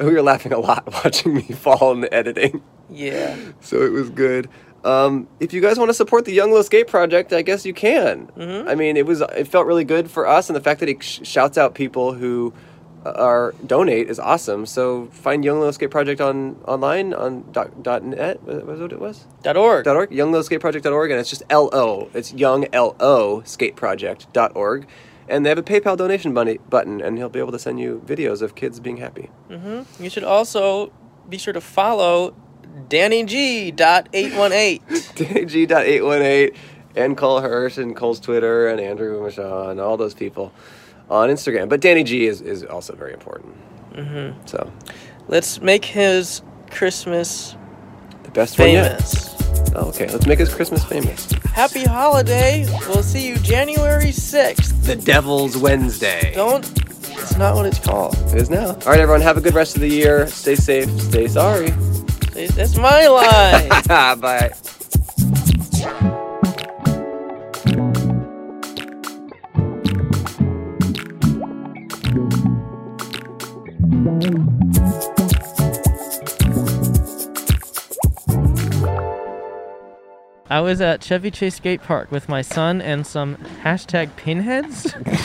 And we were laughing a lot watching me fall in the editing.
Yeah.
So it was good. Um, if you guys want to support the Young Low Skate Project, I guess you can.
Mhm.
I mean, it was it felt really good for us, and the fact that it sh- shouts out people who uh, are donate is awesome. So find Young Low Skate Project on online on dot, dot net. Was was what it was?
Dot org.
Dot org. Young Low Skate Project dot org, and it's just L O. It's Young L O Skate Project dot org, and they have a PayPal donation bunny, button, and he'll be able to send you videos of kids being happy.
hmm You should also be sure to follow Danny G. Dot eight one eight.
DG.818 and Cole Hirsch and Cole's Twitter and Andrew Michon and all those people on Instagram. But Danny G is, is also very important.
Mm-hmm.
So
Let's make his Christmas
the best
Oh,
famous.
one yet. Oh, okay, let's make his Christmas famous.
Happy holiday. We'll see you January sixth.
The Devil's Wednesday.
Don't. It's not what it's called.
It is now. All right, everyone, have a good rest of the year. Stay safe, stay sorry.
That's my line.
Bye.
I was at Chevy Chase Skate Park with my son and some hashtag pinheads.